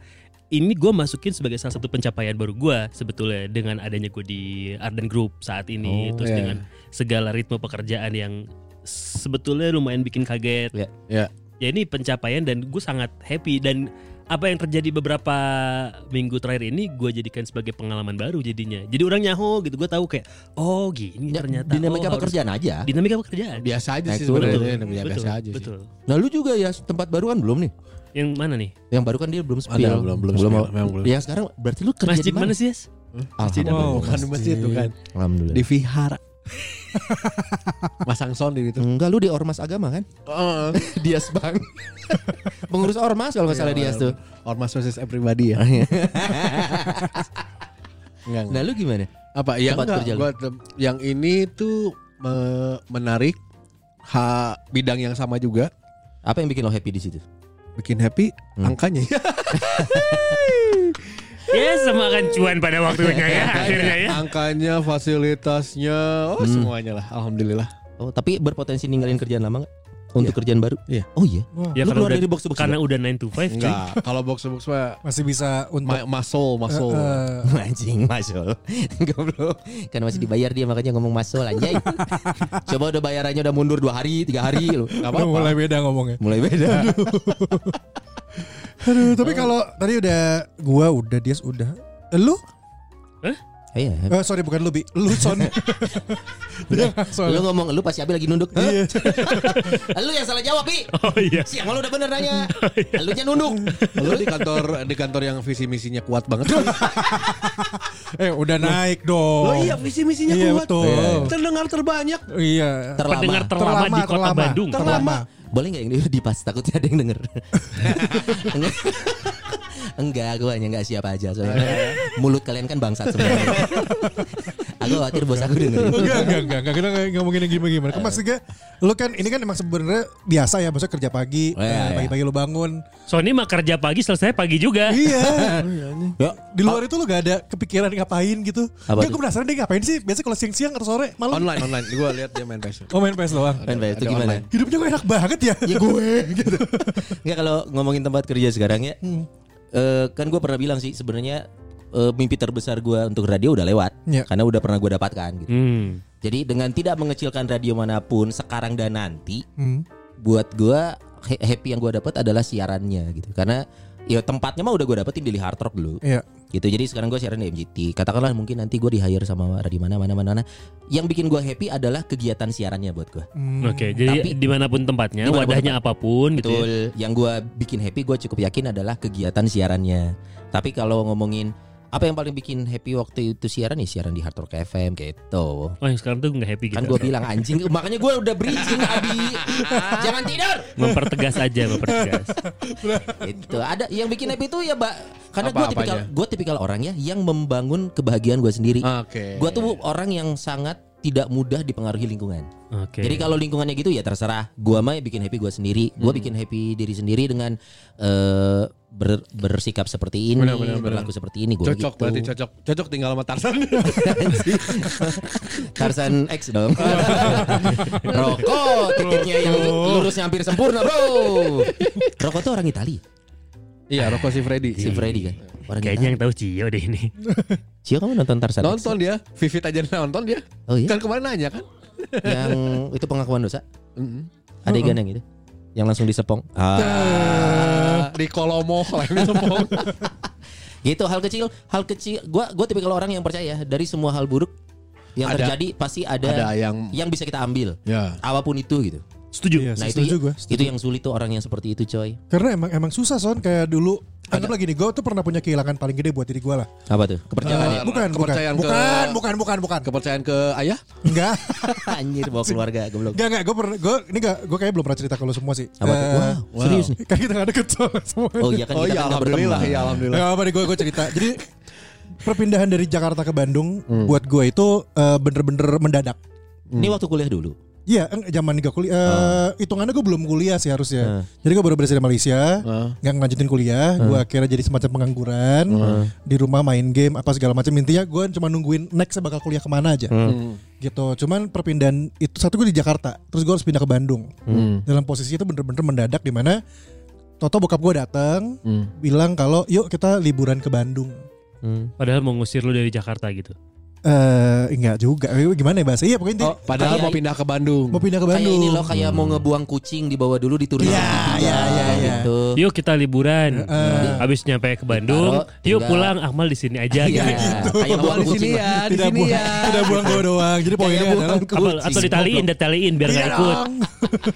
ini gue masukin sebagai salah satu pencapaian baru gue sebetulnya dengan adanya gue di Arden Group saat ini
Oh,
terus
iya.
dengan segala ritme pekerjaan yang sebetulnya lumayan bikin kaget
Ya.
ya ini pencapaian dan gue sangat happy dan apa yang terjadi beberapa minggu terakhir ini gue jadikan sebagai pengalaman baru jadinya jadi orang nyaho gitu gue tahu kayak oh gini
Ya,
ternyata
dinamika
oh, harus-
pekerjaan aja.
dinamika pekerjaan
Biasa aja
Naik
sih
turun.
sebenarnya. Ya, Biasa aja sih.
betul
Nah lu juga ya tempat baru kan belum nih?
yang mana nih
Yang baru kan dia belum spill.
Ada, belum, belum spill, memang belum.
Yang sekarang berarti lu kerja
masjid
di mana?
mana sih Yes?
Masjid apa?
Alhamdulillah.
Bukan di masjid tuh kan.
Alhamdulillah.
Di vihara. Iya. Masang sound di situ.
Enggak lu di ormas agama kan? [LAUGHS]
Heeh.
Dias [LAUGHS] bang. Pengurus ormas kalau nggak salah Dias tuh.
Gitu. Ormas versus everybody ya. Enggak, enggak.
Nah lu gimana?
apa yang
Tempat
enggak,
kerja lu.
gua tem- yang ini tuh me- menarik ha, bidang yang sama juga
Apa yang bikin lo happy di situ?
bikin happy angkanya
ya semakan cuan pada waktunya ya
[LAUGHS]
akhirnya ya
angkanya fasilitasnya oh semuanya lah alhamdulillah
Oh tapi berpotensi ninggalin kerjaan lama nggak? Untuk kerjaan baru?
Iya.
Oh iya.
ya
Lu
karena
keluar
udah,
dari box to box
karena udah 9 to 5 cuy
enggak kalau box to box mah
Masih bisa untuk
ma- muscle muscle
eh,
[LAUGHS] Anjing masol [LAUGHS] Goblok Kan masih dibayar dia makanya ngomong masol [LAUGHS] anjing Coba udah bayarannya udah mundur dua hari tiga hari lu
Udah
Nggak apa-apa
mulai beda ngomongnya.
Mulai beda
Aduh, tapi kalau tadi udah gua udah dia udah. Eh, Lu?
Iya
Eh, sorry bukan lu, Bi. Lu
[LAUGHS]
Son. Iya,
Lu
soalnya.
ngomong lu pasti Abi lagi nunduk Hah? [LAUGHS] Lu yang salah jawab Bi
oh iya
Siang lu udah bener [LAUGHS] nanya Lu nya nunduk
lu di kantor di kantor yang visi misinya kuat banget
Eh, udah naik dong.
oh iya visi misinya
Iya,
kuat
betul.
[LAUGHS] terdengar terbanyak
Iya.
Terlama
pendengar terlama, di kota Bandung
Terlama.
Boleh nggak yang di- di pas takutnya ada yang denger. [LAUGHS] Enggak. Enggak, gue hanya nggak siap aja soalnya mulut kalian kan bangsat [LAUGHS] sebenarnya. aku khawatir bos aku dengerin.
Enggak, enggak, enggak, enggak. Kita enggak ngomongin yang gimana-gimana. Kan maksudnya lu kan ini kan emang sebenarnya biasa ya, maksudnya kerja pagi,
Oh, iya,
eh,
iya.
pagi-pagi lu bangun.
Sony mah kerja pagi selesai pagi juga.
Iya.
Ya,
Di luar itu lu gak ada kepikiran ngapain gitu.
Apa
Enggak,
tuh?
gue penasaran dia ngapain sih? Biasanya kalau siang-siang atau sore malam
Online, online. Gue lihat dia main PS.
oh, main PS doang.
Main PS itu
Ada
gimana?
online.
Hidupnya gue enak banget ya.
Iya. Ya gue gitu. Enggak kalau ngomongin tempat kerja sekarang ya. eh, kan gue pernah bilang sih sebenarnya eh, mimpi terbesar gue untuk radio udah lewat
Iya.
karena udah pernah gue dapatkan gitu.
Hmm.
Jadi dengan tidak mengecilkan radio manapun sekarang dan nanti
Hmm.
buat gua he- happy yang gua dapat adalah siarannya gitu karena ya tempatnya mah udah gua dapetin di Hard Rock dulu
Iya.
gitu jadi sekarang gua siaran di MGT katakanlah mungkin nanti gua di hire sama dari mana mana mana mana yang bikin gua happy adalah kegiatan siarannya buat gua
Hmm.
Oke, jadi
Tapi-
dimanapun tempatnya,
Dimanapun
wadahnya apapun gitu.
betul
ya.
yang gua bikin happy gua cukup yakin adalah kegiatan siarannya tapi kalau ngomongin apa yang paling bikin happy waktu itu siaran ya siaran di Hard Rock FM gitu
Oh, yang sekarang tuh nggak happy gitu.
kan gua bilang
[LAUGHS]
anjing makanya gua udah bridging Abi jangan tidur
mempertegas aja, mempertegas.
itu ada yang bikin happy itu ya mbak karena gue
Apa-apanya?
tipikal gue tipikal orang ya yang membangun kebahagiaan gue sendiri
Ah.
Oke.
gue tuh orang yang sangat tidak mudah dipengaruhi lingkungan
Oke.
jadi kalau lingkungannya gitu ya terserah gue mah ya bikin happy gue sendiri gue
Hmm.
bikin happy diri sendiri dengan eh, ber- bersikap seperti ini
Benar, benar, benar.
berlaku seperti ini gue
Cocok
gitu.
berarti cocok. Cocok tinggal sama Tarsan.
Tarzan X
[LAUGHS]
dong Rokok Tiketnya yang lurusnya hampir sempurna bro Rokok tuh orang Itali
[LAUGHS] Iya, Rocco si Freddy.
Si Freddy kan Orang
Kayaknya
Itali
yang tahu Cio deh ini.
Cio kamu nonton Tarzan X?
Nonton dia, Vivit aja nonton dia.
Oh iya
[LAUGHS] Kan kemarin nanya kan.
yang itu pengakuan dosa
Mm-mm.
adegan yang itu yang langsung disepong ah.
Ah, di Kolomo lain sepong.
gitu hal kecil hal kecil gua gua tipikal orang yang percaya dari semua hal buruk yang
Ada-
terjadi pasti ada,
ada
yang,
yang
bisa kita ambil
ya.
apapun itu gitu
Setuju.
Iya,
nah
sih,
itu
setuju gue.
itu yang sulit tuh orang yang seperti itu coy
Karena emang emang susah son kayak dulu Anggap lagi nih, gue tuh pernah punya kehilangan paling gede buat diri gue lah.
apa tuh kepercayaan ya?
Eh, bukan, bukan,
kepercayaan ke-
bukan, bukan, bukan, bukan,
Kepercayaan ke ayah?
Enggak,
[LAUGHS]
[LAUGHS]
anjir bawa keluarga goblok
enggak, enggak. Gue pernah, gue ini enggak, gue kayaknya belum pernah cerita kalau semua sih.
apa tuh?
Eh,
Wow, serius nih
Kayak kita gak deket soalnya semua.
oh iya kan
oh
kita
iya,
kan nggak
alhamdulillah,
berteman.
ya alhamdulillah.
Gak apa nih gue gue cerita. Jadi perpindahan dari Jakarta ke Bandung
Hmm.
buat gue itu eh, bener-bener mendadak.
ini waktu kuliah dulu
Iya, eng- zaman gak kuliah.
Ah.
eh, Hitungannya gue belum kuliah sih harusnya. Jadi gue baru beres dari Malaysia,
Ah.
nggak ngelanjutin kuliah. Gue akhirnya jadi semacam pengangguran
Ah.
di rumah main game apa segala macam. Intinya gue cuma nungguin next bakal kuliah kemana aja.
Ah.
Gitu. Cuman perpindahan itu satu gue di Jakarta, terus gue harus pindah ke Bandung.
Hmm.
Dalam posisi itu bener-bener mendadak di mana Toto bokap gue datang
Hmm.
bilang kalau yuk kita liburan ke Bandung.
Padahal mau ngusir lu dari Jakarta gitu.
Eh enggak juga. Eh, Gimana ya bahasa? Iya pokoknya intinya
Oh, padahal
Kayak-
mau pindah ke Bandung.
mau pindah ke
Oh. kayak
Bandung.
ini loh kayak mau ngebuang kucing dibawa dulu diturunin
Iya, iya, iya, iya.
gitu
Yuk kita liburan.
Iya.
Habis nyampe ke Bandung,
Ditaruh,
yuk
tinggal.
pulang Akmal di sini aja
Iya,
gitu.
kayak
Buang
buang
di sini
kucing
ya, di
tidak
sini
buang,
ya.
tidak buang gue doang. Jadi
Kayak
poinnya
buang
adalah
Apa, atau ditaliin, ditaliin biar
Iya
nggak ikut.
dong. [LAUGHS]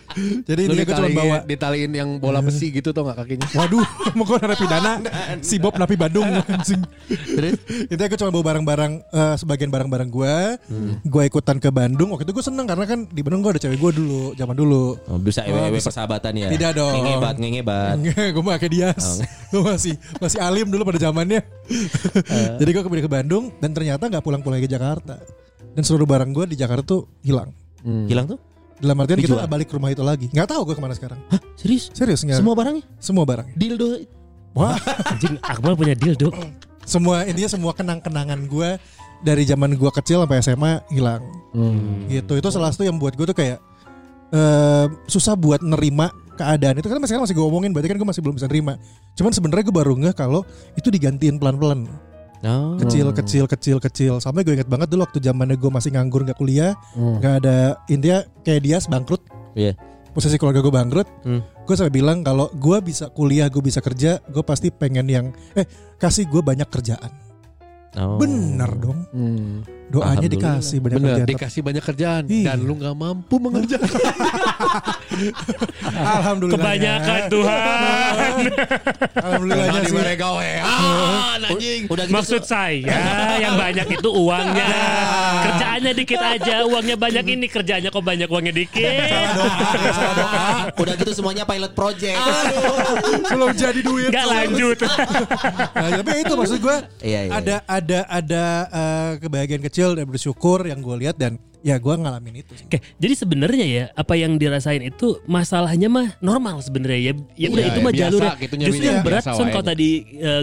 Jadi
Lu
dia gue cuma
ditaliin-
bawa. Iya.
ditaliin yang bola besi gitu tuh nggak kakinya.
Waduh, [LAUGHS] mau gue narapidana si Bob napi [LAUGHS] Bandung anjing.
Terus?
Intinya gue cuma bawa barang-barang eh, sebagian barang-barang gue. Gue ikutan ke Bandung. Waktu itu gue seneng karena kan di Bandung gue ada cewek gue dulu, zaman dulu. [LAUGHS]
Oh, bisa ewe-ewe
bisa.
persahabatan ya.
Tidak dong.
Ngebat, ngebat.
Enggak, gue mah kayak Dias. [LAUGHS] Gue masih masih alim dulu pada zamannya. Jadi gue kembali ke Bandung dan ternyata nggak pulang-pulang ke Jakarta. Dan seluruh barang gue di Jakarta tuh hilang.
Hmm.
Hmm.
Iya.
Hilang tuh?
Dalam artian
Dijual?
kita balik ke rumah itu lagi. Nggak tahu gue kemana sekarang.
Hah, serius?
Serius nggak?
Semua barangnya?
semua barang.
Dildo.
Wah,
Anjing, Akmal punya dildo.
semua intinya semua kenang-kenangan gue dari zaman gue kecil sampai SMA hilang.
Hmm.
Hmm.
Gitu. Itu salah satu yang buat gue tuh kayak eh, susah buat nerima keadaan itu karena sekarang masih gue omongin berarti kan gue masih belum bisa nerima. Cuman sebenarnya gue baru ngeh kalau itu digantiin pelan-pelan.
No.
kecil kecil kecil kecil sampai gue inget banget dulu waktu zamannya gue masih nganggur nggak kuliah nggak ada intinya kayak dia bangkrut
Iya.
posisi keluarga gue bangkrut
Hmm.
gue sampai bilang kalau gue bisa kuliah gue bisa kerja gue pasti pengen yang eh kasih gue banyak kerjaan
Oh.
bener dong doanya
Alhamdulillah.
dikasih banyak
Hmm. Bener,
kerjaan
dikasih banyak kerjaan
Iya. [LAUGHS]
dan lu nggak mampu mengerjakan.
Alhamdulillah.
Kebanyakan
Iya.
Tuhan.
Alhamdulillahnya
Nah, di
sih.
mereka weh. Ah, anjing.
Udah gitu
Maksud
so-
saya yang banyak itu uangnya.
Iya.
Kerjaannya dikit aja, uangnya banyak ini kerjaannya kok banyak uangnya dikit.
Iya. Ah, gitu udah gitu semuanya pilot project.
Belum jadi duit.
Gak lanjut.
Nah, tapi itu maksud gue
Iya, iya,
ada ada ada eh, kebahagiaan kecil dan bersyukur yang gue lihat dan ya gue ngalamin itu. sih.
Oke, jadi sebenarnya ya apa yang dirasain itu masalahnya mah normal sebenarnya ya. Ya udah
Iya,
itu mah
biasa
jalur.
gitunya,
Justru
Wi,
yang
ya.
berat
Biasa
Son
wae.
kalau tadi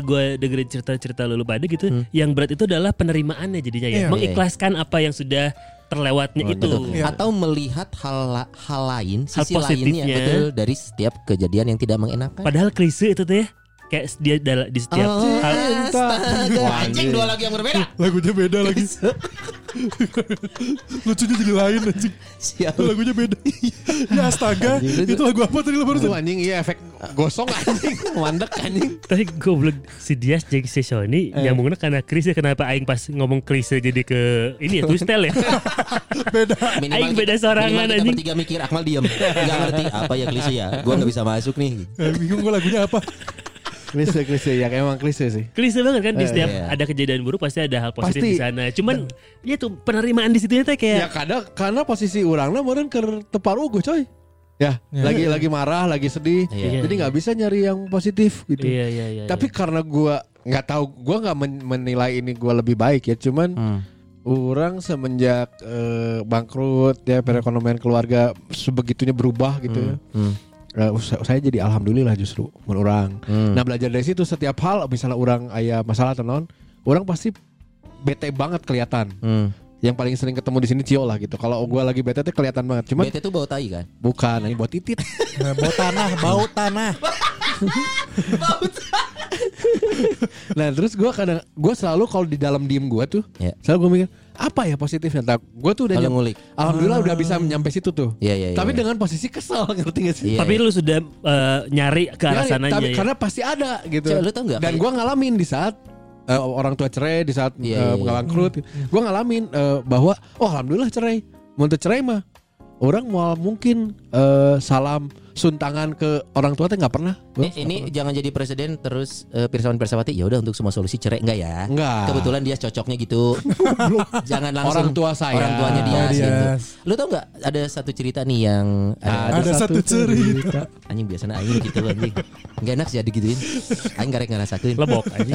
gue dengerin cerita-cerita lulu pada gitu, yang berat itu adalah penerimaannya jadinya ya.
Hmm. Iya.
Mengikhlaskan apa yang sudah terlewatnya
Oh,
itu.
Betul.
Iya.
Atau melihat hal la- hal lain,
Hal
sisi lainnya
positifnya.
betul dari setiap kejadian yang tidak mengenakan.
Padahal klise itu tuh ya. Kayak dia dal- di setiap
iya.
Oh,
hal
astaga. Anjing dua lagu yang berbeda.
Lagunya beda lagi. Lucunya jadi lain anjing.
Siapa?
Lagunya beda. ya astaga, itu lagu apa tadi lo
Tuh
barusan?
anjing iya efek gosong
[LAUGHS]
anjing.
Mandek anjing.
Tapi goblok si Dias jadi si Sony
Eh.
yang menggunakan karena klise kenapa Aing pas ngomong klise jadi ke ini ya twistel
[LAUGHS]
ya.
Beda.
Aing beda sorangan,
minimal kita
anjing.
bertiga mikir Akmal diem Gak ngerti apa ya klise ya Gue gak bisa masuk nih
Eh, bingung gue lagunya
[LAUGHS]
apa.
klise klise ya emang klise sih.
Klise banget kan di
Eh,
setiap
iya.
ada kejadian buruk pasti ada hal positif di
Pasti.
sana. Cuman ya tuh penerimaan di situ teh
Ya
kayak
kadang karena posisi orangnya meureun keur tepar ugu coy. Ya,
Iya.
lagi lagi marah, lagi sedih.
Iya.
Jadi nggak bisa nyari yang positif gitu.
Iya iya iya.
Tapi karena gua nggak tahu, gua nggak men- menilai ini gua lebih baik ya. Cuman orang semenjak eh, bangkrut ya perekonomian keluarga sebegitunya berubah gitu
Hmm,
ya. Eh, us- saya jadi alhamdulillah justru mun orang.
Hmm.
Nah belajar dari situ setiap hal misalnya orang ayah masalah atau non, orang pasti bete banget kelihatan.
Hmm.
Yang paling sering ketemu di sini Cio lah gitu. Kalau gua lagi bete tuh kelihatan banget. Cuman
Bete tuh bau tai kan
bukan ini buat titit. [LAUGHS]
Nah, bau tanah, bau tanah.
Nah terus gue kadang gue selalu kalau di dalam diem gue tuh,
Iya.
selalu gue mikir apa ya positifnya? Nah, gue tuh udah
Kalau
nyam-
ngulik. Ah.
alhamdulillah udah bisa nyampe situ tuh.
Iya, iya,
Tapi
iya.
dengan posisi kesel [LAUGHS] ngerti gak sih?
Iya.
tapi lu sudah eh, nyari ke
Ya,
arah sananya
tapi
ya.
karena pasti ada gitu.
Cek, lu tau nggak?
Dan gue ngalamin di saat eh, orang tua cerai, di saat
Iya,
eh,
iya, iya.
bangkrut, gue ngalamin eh, bahwa oh alhamdulillah cerai. Mau cerai mah orang mau mungkin eh, salam suntangan ke orang tua teh nggak pernah.
Eh, Ini jangan jadi presiden Terus eh, Pirsawan Pirsawati ya udah untuk semua solusi cerai Enggak ya
Enggak.
Kebetulan dia cocoknya
[LAUGHS]
gitu Jangan
Orang
langsung
tua saya.
Orang tuanya dia
Oh,
gitu.
Dias.
Lu tau gak ada satu cerita nih yang
Ada
Ada satu
satu
[LAUGHS]
cerita.
Anjing biasanya anjing gitu anjing Gak enak sih ya digituin Anjing garek ngerasakin
Lebok aja.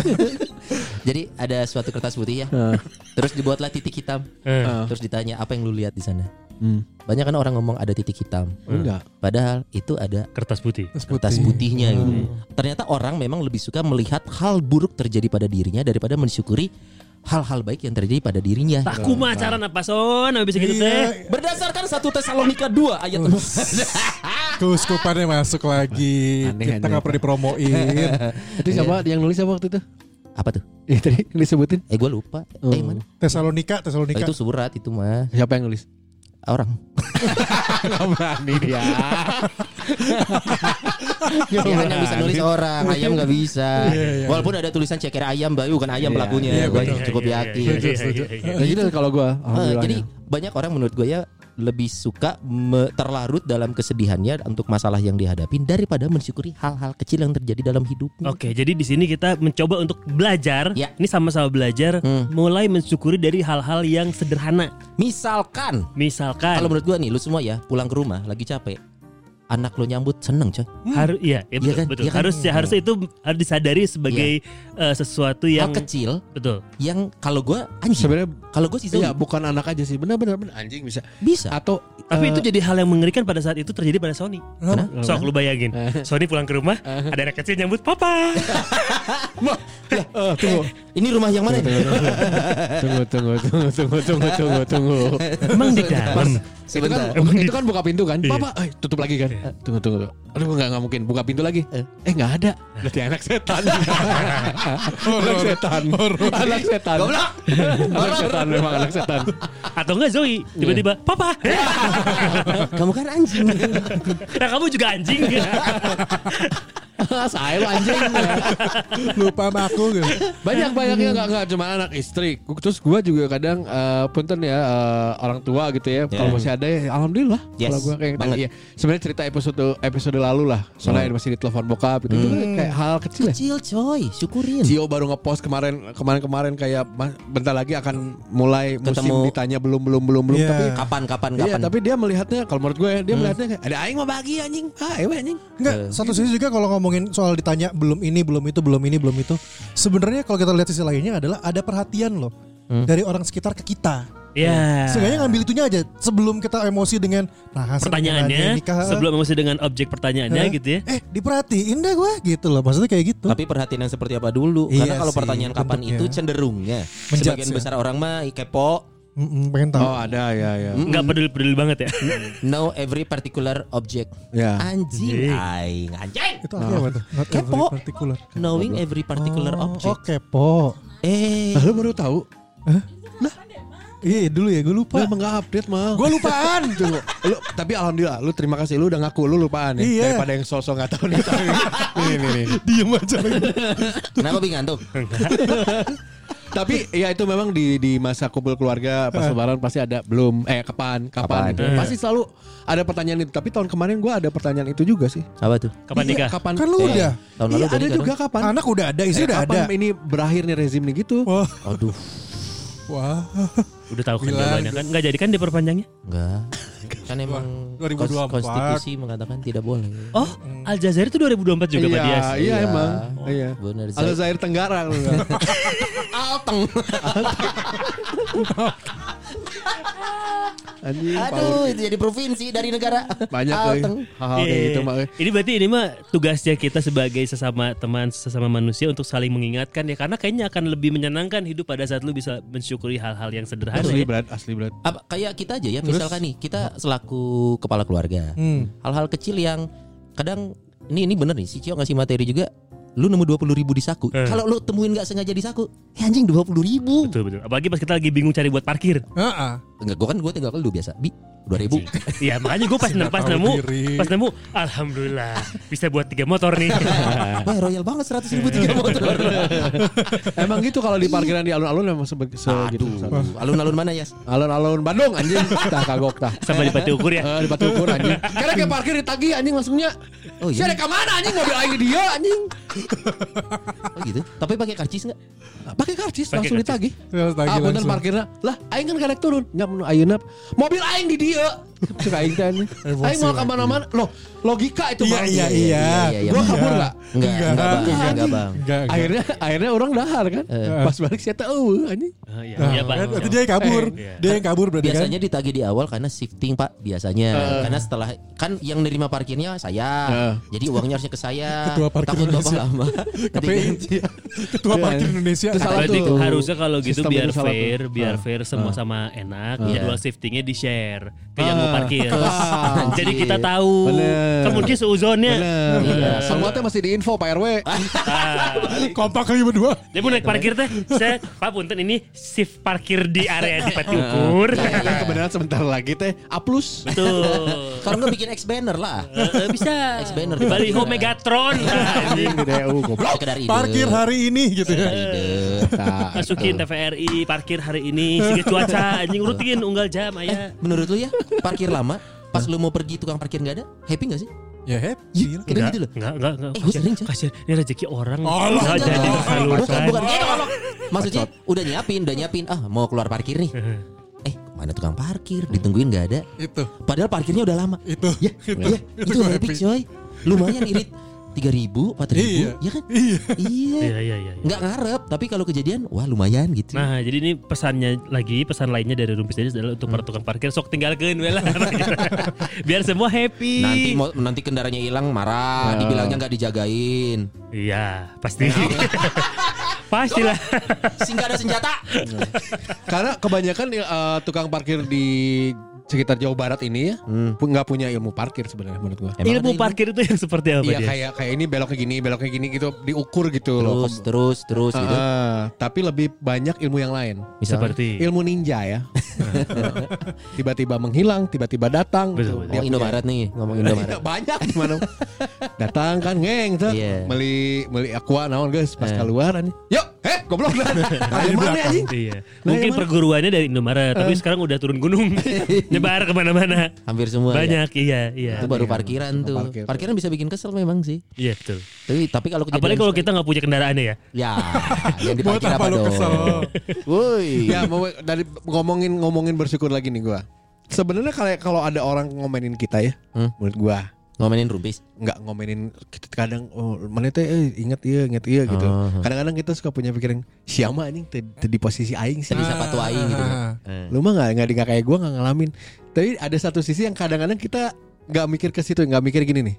[LAUGHS] Jadi ada suatu kertas putih ya. Terus dibuatlah titik hitam.
Eh.
Terus ditanya apa yang lu lihat di sana.
Hmm.
Banyak kan orang ngomong ada titik hitam.
Enggak.
Padahal itu ada
Kertas putih.
kertas putihnya gitu. Ternyata orang memang lebih suka melihat hal buruk terjadi pada dirinya daripada mensyukuri hal-hal baik yang terjadi pada dirinya.
Tak kumah cara napa son habis gitu teh.
Iya,
Berdasarkan satu Tesalonika 2 [LAUGHS] ayat
Hmm.
4.
keuskupannya masuk lagi.
Aneh,
Kita
aneh.
nggak perlu dipromoin.
[LAUGHS]
Itu siapa yang nulis siapa [LAUGHS] waktu itu?
apa tuh?
Ya Iya. tadi disebutin
Eh gua lupa. Eh mana?
Tesalonika,
Oh,
Tesalonika.
itu surat itu mah
Siapa yang [LAUGHS] nulis?
orang.
Gak berani dia
[LAUGHS]
Iya.
Ya, hanya bisa nulis orang, ayam nggak bisa. Walaupun ada tulisan ceker ayam, Bayu kan ayam
Iya,
pelakunya,
iya,
Gua
betul.
cukup
Iya,
yakin.
iya, iya, iya, iya, iya.
Ya gitu kalau gue
Eh,
Alhamdulillah ya.
jadi banyak orang menurut gue ya lebih suka me- terlarut dalam kesedihannya untuk masalah yang dihadapin daripada mensyukuri hal-hal kecil yang terjadi dalam hidupnya.
Oke, jadi di sini kita mencoba untuk belajar.
Ya.
Ini sama-sama belajar, mulai mensyukuri dari hal-hal yang sederhana.
Misalkan
Eh. Misalkan
kalau menurut gue nih lu semua ya pulang ke rumah lagi capek, anak lu nyambut seneng coy.
harus iya, ya, betul,
kan?
betul.
Iya kan?
harus harusnya itu harus disadari sebagai eh, sesuatu yang
Hal kecil
betul.
yang kalau gue anjing.
Sebenarnya
Kalau gue sih
Iya
zombie.
bukan anak aja sih Bener-bener bener. Anjing bisa
bisa.
Atau
Tapi
eh,
itu jadi hal yang mengerikan pada saat itu terjadi pada Sony.
Kenapa?
Sok lu bayangin, Sony pulang ke rumah, ada anak kecil nyambut papa.
eh, Tunggu
Ini rumah yang mana? ini?
Tunggu tunggu tunggu tunggu tunggu tunggu tunggu
Emang di dalam.
Itu kan,
Sebentar.
itu kan buka pintu kan Papa eh, tutup lagi kan Tunggu tunggu tunggu. Aduh gak, nggak mungkin Buka pintu lagi Eh gak ada Berarti anak setan Anak setan Anak setan
Goblok.
Anak setan memang anak [LAUGHS] setan
Atau enggak Zoe tiba-tiba papa.
[LAUGHS]
eh,
Kamu kan anjing.
nah, kamu juga anjing.
Saya lu anjing.
[LAUGHS]
Lupa sama aku gitu.
banyak banyaknya nggak nggak cuma anak istri Gu- terus gue juga kadang eh, punten ya eh, orang tua gitu ya
Ya.
kalau masih ada ya alhamdulillah
Yes,
kalau gue kayak
banget.
tadi ya sebenarnya cerita episode episode lalu lah soalnya masih di telepon bokap gitu Itu kan kayak hal kecil ya
Kecil coy, syukurin.
Gio baru ngepost kemarin kemarin kemarin kayak "Mas, bentar lagi akan mulai
Ketemu.
musim ditanya belum belum belum belum
Iya.
tapi
Kapan kapan
Iya,
kapan.
tapi dia melihatnya kalau menurut gue ya, dia melihatnya kayak ada aing mau bagi anjing. Ah, ewe anjing.
Enggak, satu sisi juga kalau ngomongin soal ditanya belum ini, belum itu, belum ini, belum itu. Sebenarnya kalau kita lihat sisi lainnya adalah ada perhatian loh dari orang sekitar ke kita.
Ya.
Seenggaknya ngambil itunya aja sebelum kita emosi dengan nah hasil
Pertanyaannya
pengen nikah, eh,
sebelum emosi dengan objek pertanyaannya
eh,
gitu ya.
Eh, diperhatiin deh gue gitu loh. Maksudnya kayak gitu.
Tapi perhatian yang seperti apa dulu?
Iya
Karena kalau
sih,
pertanyaan kapan
bentuknya.
itu cenderungnya
Menjudge
sebagian
ya.
besar orang mah kepo.
Mm-mm, pengen tahu.
Oh, ada ya ya.
Enggak peduli-peduli banget ya.
Know every particular object.
Ya.
Anjing, aing, anjing.
Itu artinya apa tuh? Not every
Kepo.
particular.
Knowing every particular
Oh,
object.
Oh, kepo.
Eh,
Lah, lu baru tahu?
Iya, dulu ya gue lupa.
Lu [LAUGHS] emang nggak update mah.
Gue lupaan.
[LAUGHS] Tunggu. Lu, tapi alhamdulillah lu terima kasih lu udah ngaku lu lupaan ya
Iya.
daripada yang sosok nggak tahu nih.
[LAUGHS]
Nih, nih, nih.
Diem aja lagi.
kenapa bingung tuh?
Tapi ya itu memang di di masa kumpul keluarga
Eh.
pas lebaran pasti ada belum eh kapan
Kapan.
kapan, gitu. Pasti selalu ada pertanyaan itu. Tapi tahun kemarin gua ada pertanyaan itu juga sih.
Apa tuh?
Kapan
Iya,
nikah?
Kapan?
Kan lu
Eh,
udah.
Tahun lalu
Iya,
udah
ada
nikah kan?
juga
dong?
kapan?
Anak udah ada, istri
Eh,
udah ada.
kapan ini berakhir nih rezim nih gitu.
Wah, [LAUGHS]
Aduh,
wah.
Udah tahu kan
Gila.
jawabannya kan. Enggak jadi kan diperpanjangnya?
[LAUGHS]
enggak. Kan emang kons-
2024.
konstitusi mengatakan tidak boleh.
Oh, Al Jazair itu 2024 juga Pak
iya,
Dias.
iya
Iya.
emang.
Oh,
iya.
bener, Zai.
Ada Zair Tenggara lu.
[LAUGHS] Alteng.
[LAUGHS] Anjing.
Aduh, itu jadi provinsi dari negara.
Banyak euy.
Alteng.
Hal-hal kayak
Iya.
gitu mah. euy.
Ini berarti ini mah tugasnya kita sebagai sesama teman, sesama manusia untuk saling mengingatkan ya karena kayaknya akan lebih menyenangkan hidup pada saat lu bisa mensyukuri hal-hal yang sederhana
Asli
ya.
berat, asli berat.
Apa, kayak kita aja ya, misalkan nih kita selaku kepala keluarga.
Hmm.
Hal-hal kecil yang kadang ini ini bener nih, si Cio ngasih materi juga. Lu nemu dua puluh ribu di saku.
Eh.
Kalau lu temuin nggak sengaja di saku, eh anjing dua puluh ribu.
Betul betul. Apalagi pas kita lagi bingung cari buat
[LAUGHS]
parkir.
Heeh.
Enggak, gua kan gua tinggal lu biasa. Bi, dua ribu.
Iya makanya gue pas,
Tidak
pas
tahu
nemu
diri.
Pas nemu Alhamdulillah Bisa buat tiga motor
[LAUGHS]
nih
[LAUGHS] Wah, royal banget seratus ribu tiga motor.
Emang gitu kalau di parkiran di alun-alun emang sebe- segitu.
Aduh, alun-alun mana ya?
Alun-alun Bandung anjing. Tah kagok tah.
Sama di pati ukur ya
Eh, di batu ukur anjing. Karena kayak parkir di tagi anjing langsungnya.
Oh iya,
Saya ada kemana anjing mobil aing di dia anjing.
oh, gitu. Tapi pakai karcis nggak?
Pakai karcis
Pakai
langsung
karcis.
ditagi.
Terus tagih
Ah, punten
langsung.
parkirnya. Lah, aing kan kadek turun. Nya mun ayeuna mobil aing di [LAUGHS] dia. Cek aing teh anjing.
Emosi
Aing mau
lagi.
ke mana-mana. Loh, logika itu
Iya,
Bang.
iya, iya.
Gua kabur nggak?
Enggak,
kan?
enggak, Bang.
Enggak,
Enggak,
anjing.
Bang.
Enggak, enggak.
Akhirnya akhirnya orang dahar kan. Pas balik saya tahu anjing.
Ah, Iya
Nah,
iya, Pak
kan, berarti dia yang kabur.
Eh, iya.
Dia yang kabur berarti kan.
Biasanya ditagih di awal karena shifting pak biasanya karena setelah kan yang nerima parkirnya saya jadi uangnya harusnya ke saya
Ketua parkir
takut bapak
Indonesia.
lama
Tapi [LAUGHS]
Nanti
ketua parkir Indonesia.
Itu salah
Berarti
tuh.
harusnya kalau gitu
Sistem
biar
itu salah
fair,
tuh.
biar
Ah.
fair semua sama enak,
Iya.
jadwal shiftingnya di share ke yang mau
Ah. [LAUGHS]
parkir.
Ah.
Jadi kita tahu.
Bener.
Kan mungkin seuzonnya.
Bener.
Iya.
Nah, Semua teh masih di info Pak [LAUGHS] RW.
Kompak lagi berdua.
Ah. Dia mau naik parkir teh, saya Pak Punten ini shift parkir di area di pati ukur.
Yang Iya, kebenaran sebentar lagi teh A plus.
Tuh.
kalau nggak bikin X banner lah
Eh, eh, bisa.
Ex-banner.
Baliho
[LAUGHS]
Megatron.
Anjing [LAUGHS] di DU goblok.
sekedar ide
Parkir hari ini gitu ya.
Sekedar ide
Nah,
Masukin TVRI parkir hari ini, siga cuaca anjing rutin unggal jam aya.
menurut lu ya parkir lama pas lu mau pergi tukang parkir nggak ada happy nggak sih
Ya happy. lah.
Kayak gitu loh
Enggak, enggak, enggak.
Eh, gua
Kasian,
sering, coy.
kasian. Ini rezeki orang.
Allah.
Enggak
Jangan,
jadi
jangan. bukan
tersalurkan.
bukan gitu, kalau- maksudnya udah nyiapin udah nyiapin ah mau keluar parkir nih eh mana tukang parkir ditungguin nggak ada
Itu.
Padahal parkirnya udah lama.
Itu.
Ya,
Itu.
ya,
Itu
itu
gua
happy
happy.
coy. Lumayan irit. 3000, 4000,
Iya.
ya kan?
Iya.
Iya.
Iya, iya, iya. iya.
Nggak ngarep, tapi kalau kejadian wah lumayan gitu.
Nah, jadi ini pesannya lagi, pesan lainnya dari Rumpis Dadis adalah untuk para tukang parkir sok tinggalkeun we lah. [LAUGHS] Biar semua happy.
Nanti mau, nanti kendaraannya hilang marah, dibilangnya nggak dijagain.
Iya, pasti. [LAUGHS] Pastilah.
Sehingga ada senjata.
Karena kebanyakan eh, tukang parkir di sekitar Jawa Barat ini ya pu- nggak punya ilmu parkir sebenarnya menurut gua.
Emang ada
Ilmu parkir itu yang seperti apa
Iya
dia?
kayak kayak ini beloknya gini beloknya gini gitu diukur gitu loh.
terus terus terus gitu.
Heeh, tapi lebih banyak ilmu yang lain.
Misalnya
Seperti
Ilmu ninja
[LAUGHS]
ya. tiba-tiba menghilang, tiba-tiba datang.
Betul, betul.
Dia
ngomong Oh, Indomaret nih, ngomong
Iya.
Indomaret.
banyak gimana datang kan ngeng tuh
Iya.
beli beli aqua naon guys pas keluar anjing yuk eh
[LAUGHS]
goblok dah
di
ayo mana
belakang.
anjing
Iya.
Nah,
Mungkin
yang mana?
perguruannya dari Indomaret, tapi sekarang udah turun gunung, nyebar kemana-mana.
Hampir semua. ya.
Banyak, iya, iya,
Itu baru parkiran tuh.
Parkir.
Parkiran bisa bikin kesel memang sih.
iya betul.
Tapi tapi kalau kejadian
Apalagi kalau
seperti-
kita nggak punya kendaraannya ya.
ya yang
Buat
diparkir
apa
apa
lu
dong?
kesel?
Woi.
ya mau dari ngomongin ngomongin bersyukur lagi nih gua sebenarnya kalau kalau ada orang ngomenin kita ya
Hmm.
menurut gua
Ngomenin rubis.
nggak ngomenin kita kadang oh, mana teh eh, ingat iya ingat iya gitu
Ah.
kadang-kadang kita suka punya pikiran siapa anjing teh- teh di posisi aing sih
Jadi sepatu aing gitu.
Nah,
kan. Eh.
lu mah nggak nggak di- nggak kayak gue nggak ngalamin tapi ada satu sisi yang kadang-kadang kita nggak mikir ke situ nggak mikir gini nih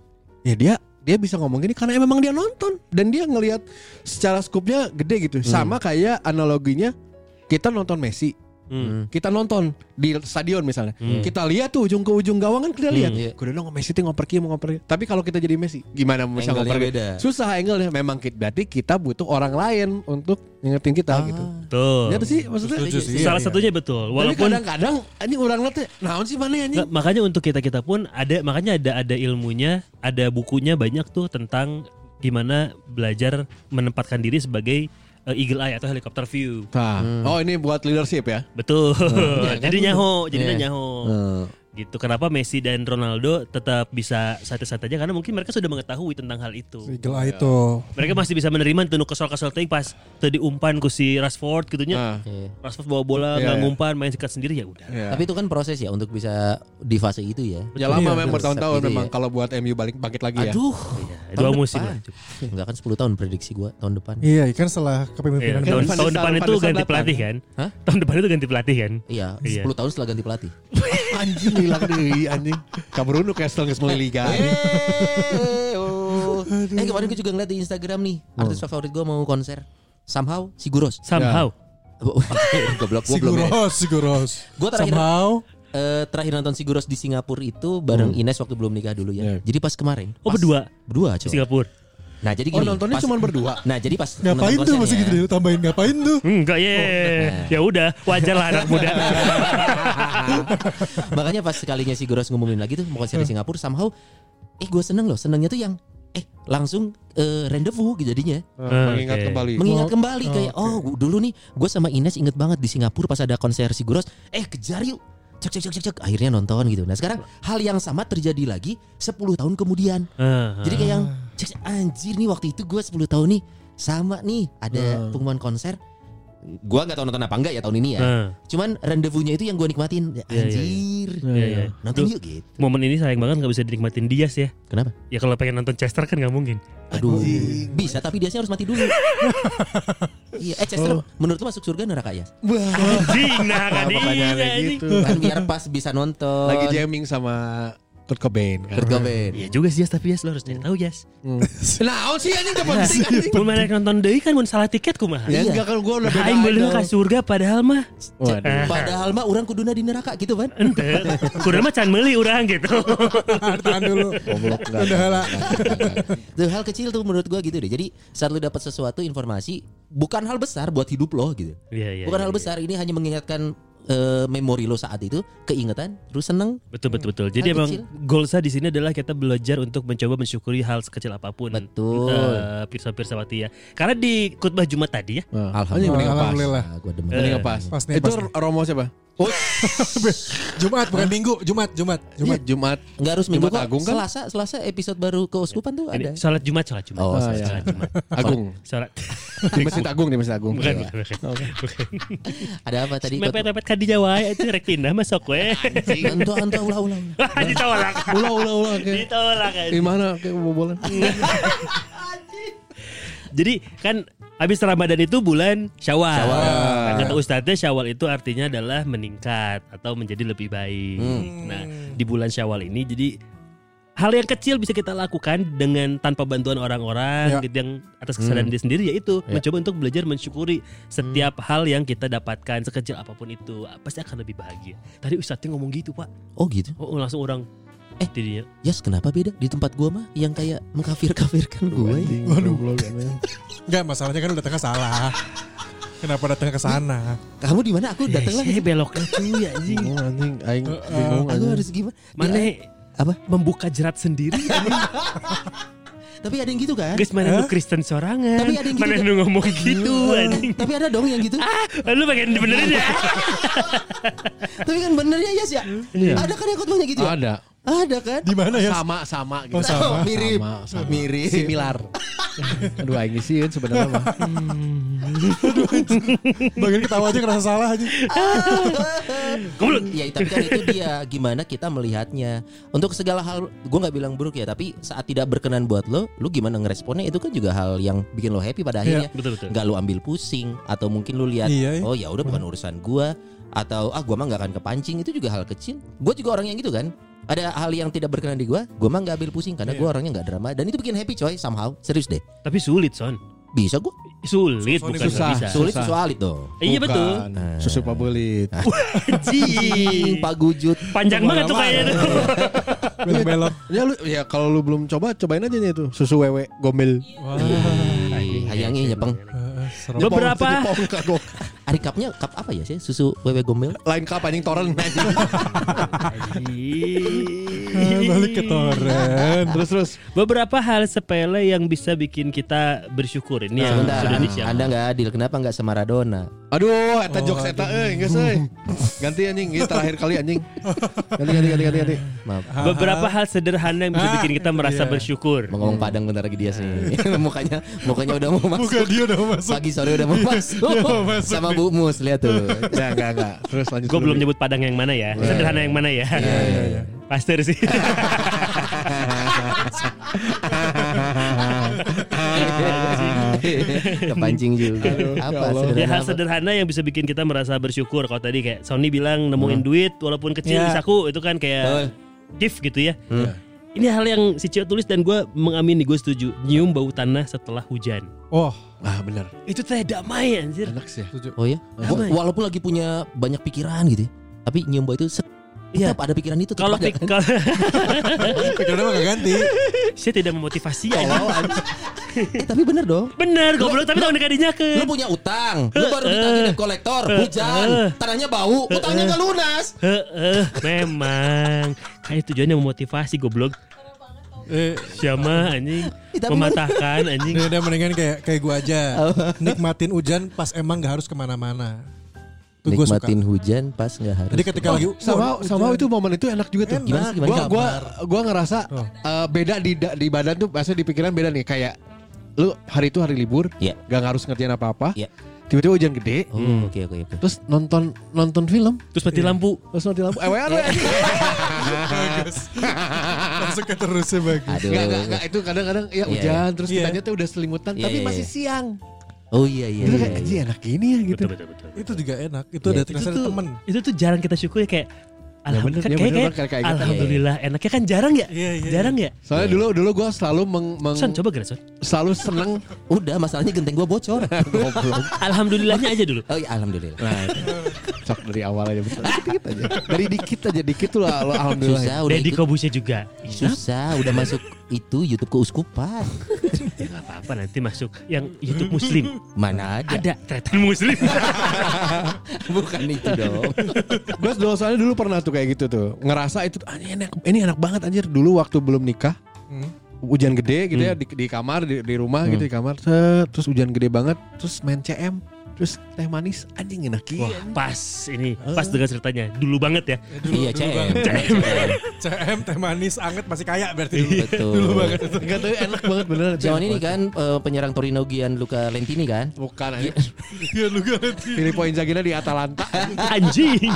ya dia dia bisa ngomong gini karena memang dia nonton dan dia ngelihat secara skupnya gede
Hmm.
gitu sama kayak analoginya kita nonton Messi
Hmm.
kita nonton di stadion misalnya kita lihat tuh ujung ke ujung gawang kan kita lihat
Hmm. iya.
kudu dong Messi tuh ngoper kiri mau ngoper kiri. tapi kalau kita jadi Messi gimana mau bisa
Angle-nya
ngoper kiri?
beda.
susah angle memang ki- berarti kita butuh orang lain untuk ngingetin kita
Ah.
gitu
Tuh.
ya sih maksudnya
Setuju sih.
Salah
Iya,
satunya betul. Walaupun
Walaupun kadang-kadang ini orang lihat teh, naon sih mana anjing?
Nggak, makanya untuk kita kita pun ada makanya ada ada ilmunya, ada bukunya banyak tuh tentang gimana belajar menempatkan diri sebagai eh, eagle eye atau helikopter view.
Tah. Oh ini buat leadership ya.
Betul. [LAUGHS]
ya kan?
jadi nyaho, jadinya
Iya.
nyaho. Gitu. Kenapa Messi dan Ronaldo tetap bisa satu-satu aja karena mungkin mereka sudah mengetahui tentang hal
Iya.
itu.
Eagle Eye tuh.
Mereka masih bisa menerima tenu kesel-kesel teuing pas teu diumpan ku si Rashford gitunya.
Iya.
Rashford bawa bola
Iya,
nggak
iya.
ngumpan main sikat sendiri ya udah.
Iya.
Tapi itu kan proses ya untuk bisa di fase itu ya.
ya lama
Iya,
memang
betul.
bertahun-tahun
Gitu
memang
ya.
kalau buat MU balik bangkit lagi ya.
Aduh.
Iya,
Tahun
Dua
depan.
musim lah.
Enggak kan 10 tahun prediksi gua tahun depan.
Iya, kan setelah
Iya,
kepemimpinan
tahun,
Kan Van de
tahun
Sar-
depan
Van de
itu
Sar
ganti
datang.
pelatih kan?
Hah?
Tahun depan itu ganti pelatih kan?
Iya,
Iya.
10 tahun setelah ganti pelatih.
anjing hilang deui anjing. Kamerun nu kesel geus mulai liga.
Eh, oh. Eh kemarin gue juga ngeliat di Instagram nih Artis favorit gue mau konser Somehow si
[LAUGHS]
Guros
Somehow.
Iya. Goblok gue belum
Siguros, Siguros.
Gua terakhir-
Somehow,
Eh, Terakhir nonton si Guros di Singapura itu Bareng Ines waktu belum nikah dulu ya Jadi pas kemarin
Oh
pas-
berdua
Berdua
di
coba
Singapura.
Nah jadi
Oh
gini
nontonnya
pas-
cuma berdua.
Nah jadi pas nonton
ngapain tuh
konsernya,
masih gitu deh, tambahin ngapain tuh? [LAUGHS]
Enggak
Oh,
ya.
eh.
Ya udah, wajar lah anak
[LAUGHS]
muda.
Makanya pas sekalinya si Guros ngumumin lagi tuh Mau konser
Hmm.
di Singapura somehow Eh gue seneng loh Senengnya tuh yang Eh langsung eh, rendezvous gitu jadinya
Eh, Mengingat
Oke.
kembali.
mengingat
Oh,
kembali
oh,
kayak oh gu- dulu nih gue sama Ines inget banget di Singapura pas ada konser si Guros eh kejar yuk cek cek cek cek cek akhirnya nonton gitu nah sekarang hal yang sama terjadi lagi 10 tahun kemudian
Ah,
jadi kayak yang cek, cek, anjir nih waktu itu gue 10 tahun nih sama nih ada
Hmm.
pengumuman konser gue nggak tahu nonton apa enggak ya tahun ini ya
Heeh.
cuman rendezvousnya itu yang gue nikmatin Ya,
Hmm. Iya, iya,
anjir
Iya, iya.
nonton
Duh.
yuk gitu
Momen ini sayang banget nggak bisa dinikmatin Dias ya.
kenapa
Ya kalau pengen nonton Chester kan nggak mungkin.
aduh bisa tapi dia harus mati dulu iya eh Chester menurut lu masuk surga neraka ya
Anjing nah
Nah,
kan
makanya
iya,
kayak
anjing.
gitu.
kan biar pas bisa nonton
Lagi jamming sama Kurt Cobain. kan.
Kurt Cobain.
Iya juga sih Jas, tapi Jas lo harus nyari tahu Jas.
[LAUGHS] Naon sih anjing teh
[LAUGHS]
penting anjing.
Mau mana nonton deui kan mun salah tiket kumaha.
Ya
Iya.
enggak kan gua udah
Nah, aing beuleum
idol.
ka surga padahal mah.
Waduh.
Padahal mah orang kuduna di neraka gitu kan.
Ente, kurang mah can meuli urang gitu.
Tahan dulu.
Goblok
[LAUGHS]
enggak.
Udah lah.
Tuh hal kecil tuh menurut gua gitu deh. Jadi saat lu dapat sesuatu informasi bukan hal besar buat hidup lo gitu.
Iya, iya,
bukan
iya,
hal
iya.
besar ini hanya mengingatkan eh, memori lo saat itu, keingetan, terus seneng.
Betul betul betul. Jadi
Hal
emang
kecil.
goalsnya di sini adalah kita belajar untuk mencoba mensyukuri hal sekecil apapun.
Betul.
Eh, Pirsa-pirsa mati ya. Karena di khutbah Jumat tadi ya,
Anjing
Alhamdulillah.
mending pas.
Alhamdulillah.
Ah, gua demen.
Mending pas.
Pas nih,
Itu
pas nih.
Romo siapa?
Jumat bukan Minggu, Jumat, Jumat, Jumat.
Jumat Jumat.
Enggak harus minggu
Jumat
kok.
Agung kan?
Selasa, Selasa episode baru keuskupan tuh
ini
ada.
salat Jumat, salat Jumat.
Oh,
salat,
iya.
salat Jumat.
Agung.
Salat.
Di Masjid Agung di Masjid Agung. Iya.
Bukan,
Iya.
bukan, bukan.
Ada apa tadi?
Mepet-mepet ka di Jawa ya, itu rek pindah masuk we.
Anto anto ulah ulah. ulah.
[LAUGHS] Ditolak.
Ulah ulah ulah. kayak-
Ditolak. eh. anjing.
Di mana kayak bobolan?
Jadi kan habis Ramadan itu bulan Syawal. Nah, kata Ustadznya Syawal itu artinya adalah meningkat atau menjadi lebih baik. Nah, di bulan Syawal ini jadi hal yang kecil bisa kita lakukan dengan tanpa bantuan orang-orang
Ya.
gitu yang atas kesadaran diri sendiri yaitu
Ya.
mencoba untuk belajar mensyukuri setiap hal yang kita dapatkan sekecil apapun itu pasti akan lebih bahagia. Tadi Ustadznya ngomong gitu pak,
Oh gitu.
oh, langsung orang eh
Eh.
dirinya
Yes, kenapa beda di tempat gua mah yang kayak mengkafir-kafirkan gua ya.
Waduh.
Enggak masalahnya kan lu datangnya salah. Kenapa datang ke sana?
Kamu di mana? Aku datang lah.
"Eh, belok ke
ya,
cuy anjing.
Bingung anjing, aing
Aku
bingung anjing.
harus gimana? Ya,
Mana
apa?
membuka jerat sendiri anjing.
[LAUGHS] Tapi ada yang gitu kan?
Guys mana lu Kristen sorangan
Tapi ada yang
Mana
gitu- Iya.
lu ngomong gitu anjing
Eh, Tapi ada dong yang gitu.
Ah, Lu pengen benerin ya
Tapi kan benernya yes ya. Ada kan yang khotbahnya gitu ya?
Ada.
Ada kan?
Di mana ya?
Sama sama gitu.
Oh, sama.
mirip.
Sama, sama.
Mirip.
Similar. [LAUGHS] Aduh aing sih sebenarnya [LAUGHS] mah.
Bagian ketawa aja ngerasa salah aja.
Iya, tapi kan itu dia gimana kita melihatnya. Untuk segala hal, gue nggak bilang buruk ya, tapi saat tidak berkenan buat lo, lo gimana ngeresponnya itu kan juga hal yang bikin lo happy pada akhirnya.
betul, betul.
Nggak lo ambil pusing atau mungkin lo lihat,
Iya, iya.
oh ya udah bukan urusan gue atau ah gue mah nggak akan kepancing itu juga hal kecil. Gue juga orang yang gitu kan. Ada hal yang tidak berkenan di gue, gue mah nggak ambil pusing karena gue orangnya nggak drama dan itu bikin happy coy somehow serius deh.
Tapi sulit son
Bisa gue
Sulit
Susah,
bukan
susah.
nggak bisa
sulit
Susah.
sualit dong.
Iya betul
Bukan. Nah. Susu pabulit.
Anjing.
Pak Gujut.
Panjang banget tuh kayaknya tuh
Belok-belok.
Ya lu ya kalau lu belum coba cobain aja nih itu susu wewe gombel.
Ih, Hayangnya nyepeng.
Heeh, serem.
Jepong,
Beberapa.
itu [LAUGHS] Jepong, kagok.
Ari cupnya cup apa ya sih? Susu wewe gombel.
Lain kap anjing [LAUGHS] toren.
Iya.
[LAUGHS]
Ah, Balik ke toren.
terus terus.
Beberapa hal sepele yang bisa bikin kita bersyukur ini yang
Sebentar,
sudah
An-
disiapkan.
Anda nggak adil. Kenapa nggak sama Maradona?
Aduh, eta jokes eta euy, geus euy. Ganti anjing, ini terakhir kali [LAUGHS] anjing. Ganti ganti ganti ganti ganti.
Maaf.
Beberapa hal sederhana yang bisa
Ah,
bikin kita
itu
merasa
Iya.
dia.
bersyukur.
Mau ngomong Padang bentar lagi dia sih. mukanya mukanya udah mau masuk.
Bukan dia udah masuk.
Pagi sore udah mau masuk.
mau masuk
[LAUGHS] sama Bu Mus lihat tuh.
Enggak enggak enggak. Terus lanjut.
Gue
dulu,
belum
Bi.
nyebut padang yang mana
Iya,
ya. Sederhana yang mana ya. Pasteur sih.
[LAUGHS] Kepancing juga.
Aduh, ya
apa
Allah.
Ah. ya
sederhana?
hal
apa?
sederhana yang bisa bikin kita merasa bersyukur. Kalau tadi kayak Sony bilang nemuin
Hmm.
duit walaupun kecil
Iya.
Ya.
di saku itu kan kayak gift gitu ya.
Hmm.
Ini hal yang si Cio tulis dan gue mengamini gue setuju. Nyium bau tanah setelah hujan.
Oh,
Ah, benar.
Itu teh damai anjir.
Enak sih. ya.
Oh ya. Wa- Walaupun lagi punya banyak pikiran gitu. ya. Tapi nyium bau itu set,
Iya.
tetap ada pikiran itu tetap
Kalau
ada.
pik- kalau- [LAUGHS]
pikiran mah gak ganti.
saya tidak memotivasi
Tolol,
anjing.
anjing. [LAUGHS] eh, tapi bener dong.
Bener goblok tapi tahun dekadinya ke.
Oh. Lu punya utang, lu baru ditagih debt kolektor,
eh.
hujan, tanahnya bau, utangnya nggak lunas.
Heeh, memang kayak tujuannya memotivasi goblok.
Eh,
Siapa anjing
Eh, tapi-
mematahkan anjing.
ini udah mendingan kayak kayak gua aja. Nikmatin hujan pas emang gak harus kemana-mana. Tuh gua suka.
Nikmatin hujan pas nggak harus.
Jadi ketika lagi
Sama
Waduh,
sama
hujan.
itu momen itu enak juga tuh.
Enak.
Gimana sih, gimana
Gua
sih?
gua gua ngerasa eh, beda di da- di badan tuh, biasanya di pikiran beda nih kayak lu hari itu hari libur,
Iya.
gak harus ngerjain apa-apa.
Iya.
Tiba-tiba hujan gede,
Oh, oke oke oke.
terus nonton nonton film,
Terus mati lampu.
terus nonton lampu. Eh,
Iya,
wean, wean.
bagus. ya, Langsung ke terusnya bagus.
Aduh.
Enggak, enggak, enggak. Itu kadang-kadang ya
Iya,
hujan terus
Iya.
kitanya tuh udah selimutan
Iya,
tapi
iya,
masih
iya.
siang.
Oh iya iya.
Itu
iya,
kayak
iya.
anjing enak gini ya gitu.
Betul betul betul.
Itu juga enak. Itu
Iya.
ada
itu
terasa ada
tuh,
temen.
itu tuh jarang kita syukuri kayak
bener,
Alhamdulillah,
ya
kayak, kayak,
bener banget, kayak- kayak gitu.
alhamdulillah enaknya kan jarang ya,
Iya, iya,
jarang ya.
Soalnya dulu
iya.
dulu gua selalu meng, meng-
Son coba gak Son?
selalu seneng
Udah masalahnya genteng gua bocor.
goblok.
Alhamdulillahnya aja dulu.
Oh iya alhamdulillah.
Nah, cok dari awal aja betul. Dikit aja. Dari dikit aja dikit tuh lah lo alhamdulillah. ya.
Susah Oh, udah
Deddy
ikut-
Kobusnya juga. Ih,
Susah udah masuk itu YouTube keuskupan.
Ya nggak apa-apa nanti masuk yang YouTube Muslim.
Mana ada?
Ada tretan Muslim.
Bukan itu dong.
Gue dulu soalnya dulu pernah tuh kayak gitu tuh. Ngerasa itu "Ah, ini enak, ini enak banget anjir dulu waktu belum nikah.
Hmm.
Hujan gede gitu ya di, di kamar di, di rumah gitu di kamar set, terus hujan gede banget terus main CM terus teh manis anjing enak ya. [LAUGHS] gini.
pas ini, pas dengan ceritanya. Dulu banget ya.
Ya, dulu-
[LAUGHS] Iya,
dulu
CM.
banget. CM teh manis anget masih kaya berarti
Iya.
dulu.
Betul.
Dulu banget itu.
Enggak tahu enak banget bener.
Jawan ini kan eh, penyerang Torino Gian Luca Lentini kan?
Bukan aja.
Iya,
Filippo Inzaghi di Atalanta.
Anjing.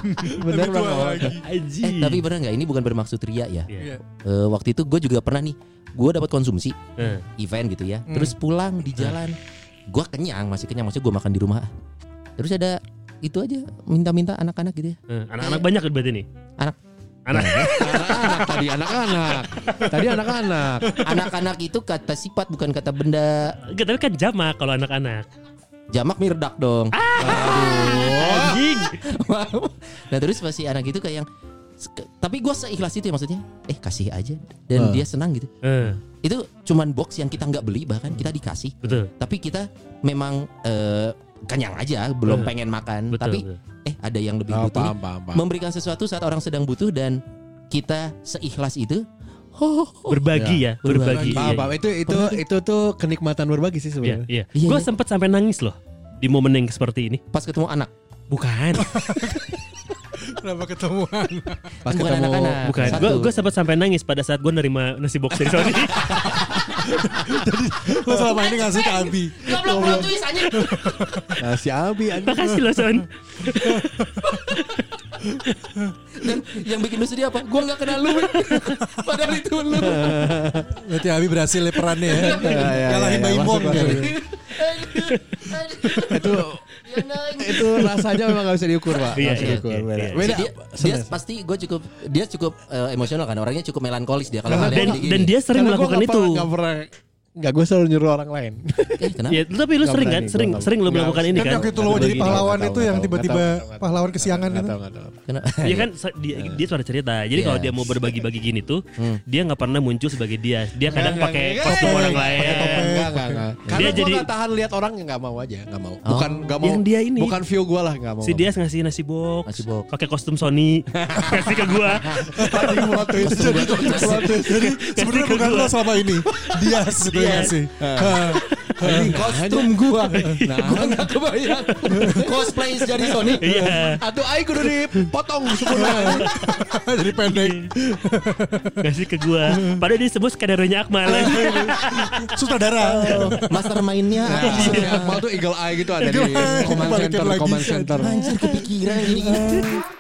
Bener
Lebih tua
banget.
lagi.
Eh
Anjing.
tapi pernah nggak ini bukan bermaksud ria ya?
Iya.
Iya.
Eh, waktu itu gue juga pernah nih gue dapat konsumsi
Eh.
event gitu ya terus pulang di jalan gue kenyang masih kenyang maksudnya gue makan di rumah terus ada itu aja minta-minta anak-anak gitu ya
Eh, Anak-anak banyak kan berarti nih.
anak
Anak.
Anak-anak tadi anak-anak. Tadi anak-anak.
Anak-anak itu kata sifat bukan kata benda.
[LAUGHS] Enggak, tapi kan jamak kalau anak-anak.
Jamak mirdak dong.
Anjing.
nah terus pasti anak itu kayak yang tapi gue seikhlas itu ya maksudnya eh kasih aja
Ah.
dan dia senang gitu
Eh,
itu cuman box yang kita nggak beli bahkan kita dikasih
betul.
tapi kita memang eh, kenyang aja belum
Iya.
Eh,
pengen makan
Betul.
tapi
betul.
eh ada yang lebih
Oh,
butuh nih.
paham, paham, paham.
memberikan sesuatu saat orang sedang butuh dan kita seikhlas itu oh,
berbagi ya, berbagi.
berbagi.
Paham, paham. Itu itu itu tuh kenikmatan berbagi
Iya,
sih sebenarnya.
iya.
Iya,
Gue
iya.
sempet sampai nangis loh di momen yang seperti ini.
pas ketemu anak
Bukan,
Kenapa ketemuan?
Pas
Bukan
ketemu
anak-anak.
[LAUGHS] bukan.
Satu.
Gue gue sempat sampai nangis pada saat gue nerima nasi box dari Sony.
Lo selama ini ngasih ke Abi.
Goblok plot twist anjing.
Nah, si Abi anjing.
Makasih loh Son.
[LAUGHS] Dan yang bikin lu sedih apa? Gua nggak kenal lu. [LAUGHS] men. Padahal itu
[LAUGHS]
lu.
Berarti Abi berhasil ya perannya ya.
ya, ya,
Kalahin
ya,
Mbak Ipong.
masuk, masuk. itu
Ya, nangis.
itu rasanya memang gak bisa diukur, Pak.
Iya,
Nggak bisa
iya,
diukur.
iya,
beda.
iya.
Beda.
dia, dia pasti gue cukup dia cukup eh, emosional kan orangnya cukup melankolis dia kalau hal
Dan,
yang kayak gini.
dan dia sering
Karena gua
melakukan
nggak
itu.
pernah- nggak pernah Enggak, gue selalu nyuruh orang lain.
Eh, kenapa?
Ya, tapi lu
Nggak
sering
berani,
kan,
gua
sering
nggak-
sering lu
nggak
melakukan ini
Kan
kan.
waktu itu lo
Nggak
jadi
tahu, gitu
pahlawan
nggak tahu,
itu
nggak
yang
tahu,
tiba-tiba
nggak tahu, nggak tahu.
pahlawan kesiangan
Nggak
itu.
tahu, nggak tahu.
Kenapa?
[LAUGHS] Iya kan sa- dia, dia suara cerita. Jadi kalau
Yes.
dia mau berbagi-bagi gini tuh,
Hmm.
dia nggak pernah muncul sebagai dia. Dia kadang
Nggak,
pakai
nggak,
kostum
nggak,
orang
nggak,
lain.
pakai topeng.
Enggak, enggak, enggak. Karena
Dia
gue
jadi-
gak tahan lihat orang yang gak mau aja, gak mau.
Oh.
Bukan gak mau.
Yang dia ini.
Bukan view gue lah, gak mau.
Si Dias ngasih nasi box,
Nasi box.
pakai kostum Sony, kasih ke gua.
Tadi plot twist.
Jadi, jadi sebenarnya
Iya.
Kasih ke
bukan
gua.
lo selama ini. Dia sebenarnya
Dia.
sih.
Jadi Iya. kostum gua. Nah,
Gua nggak kebayang Iya. cosplay jadi Sony.
Iya,
atau aing kudu
[LAUGHS]
dipotong sempurna.
Jadi pendek.
kasih ke gua. Padahal dia sebut skenario-nya Akmal.
Iya.
Sutradara.
Oh.
Mastermindnya apa?
Iya.
Akmal tuh eagle eye gitu ada di
Eagle eye,
command
dibalikin
center,
lagi.
command center.
Anjir kepikiran gini-gini.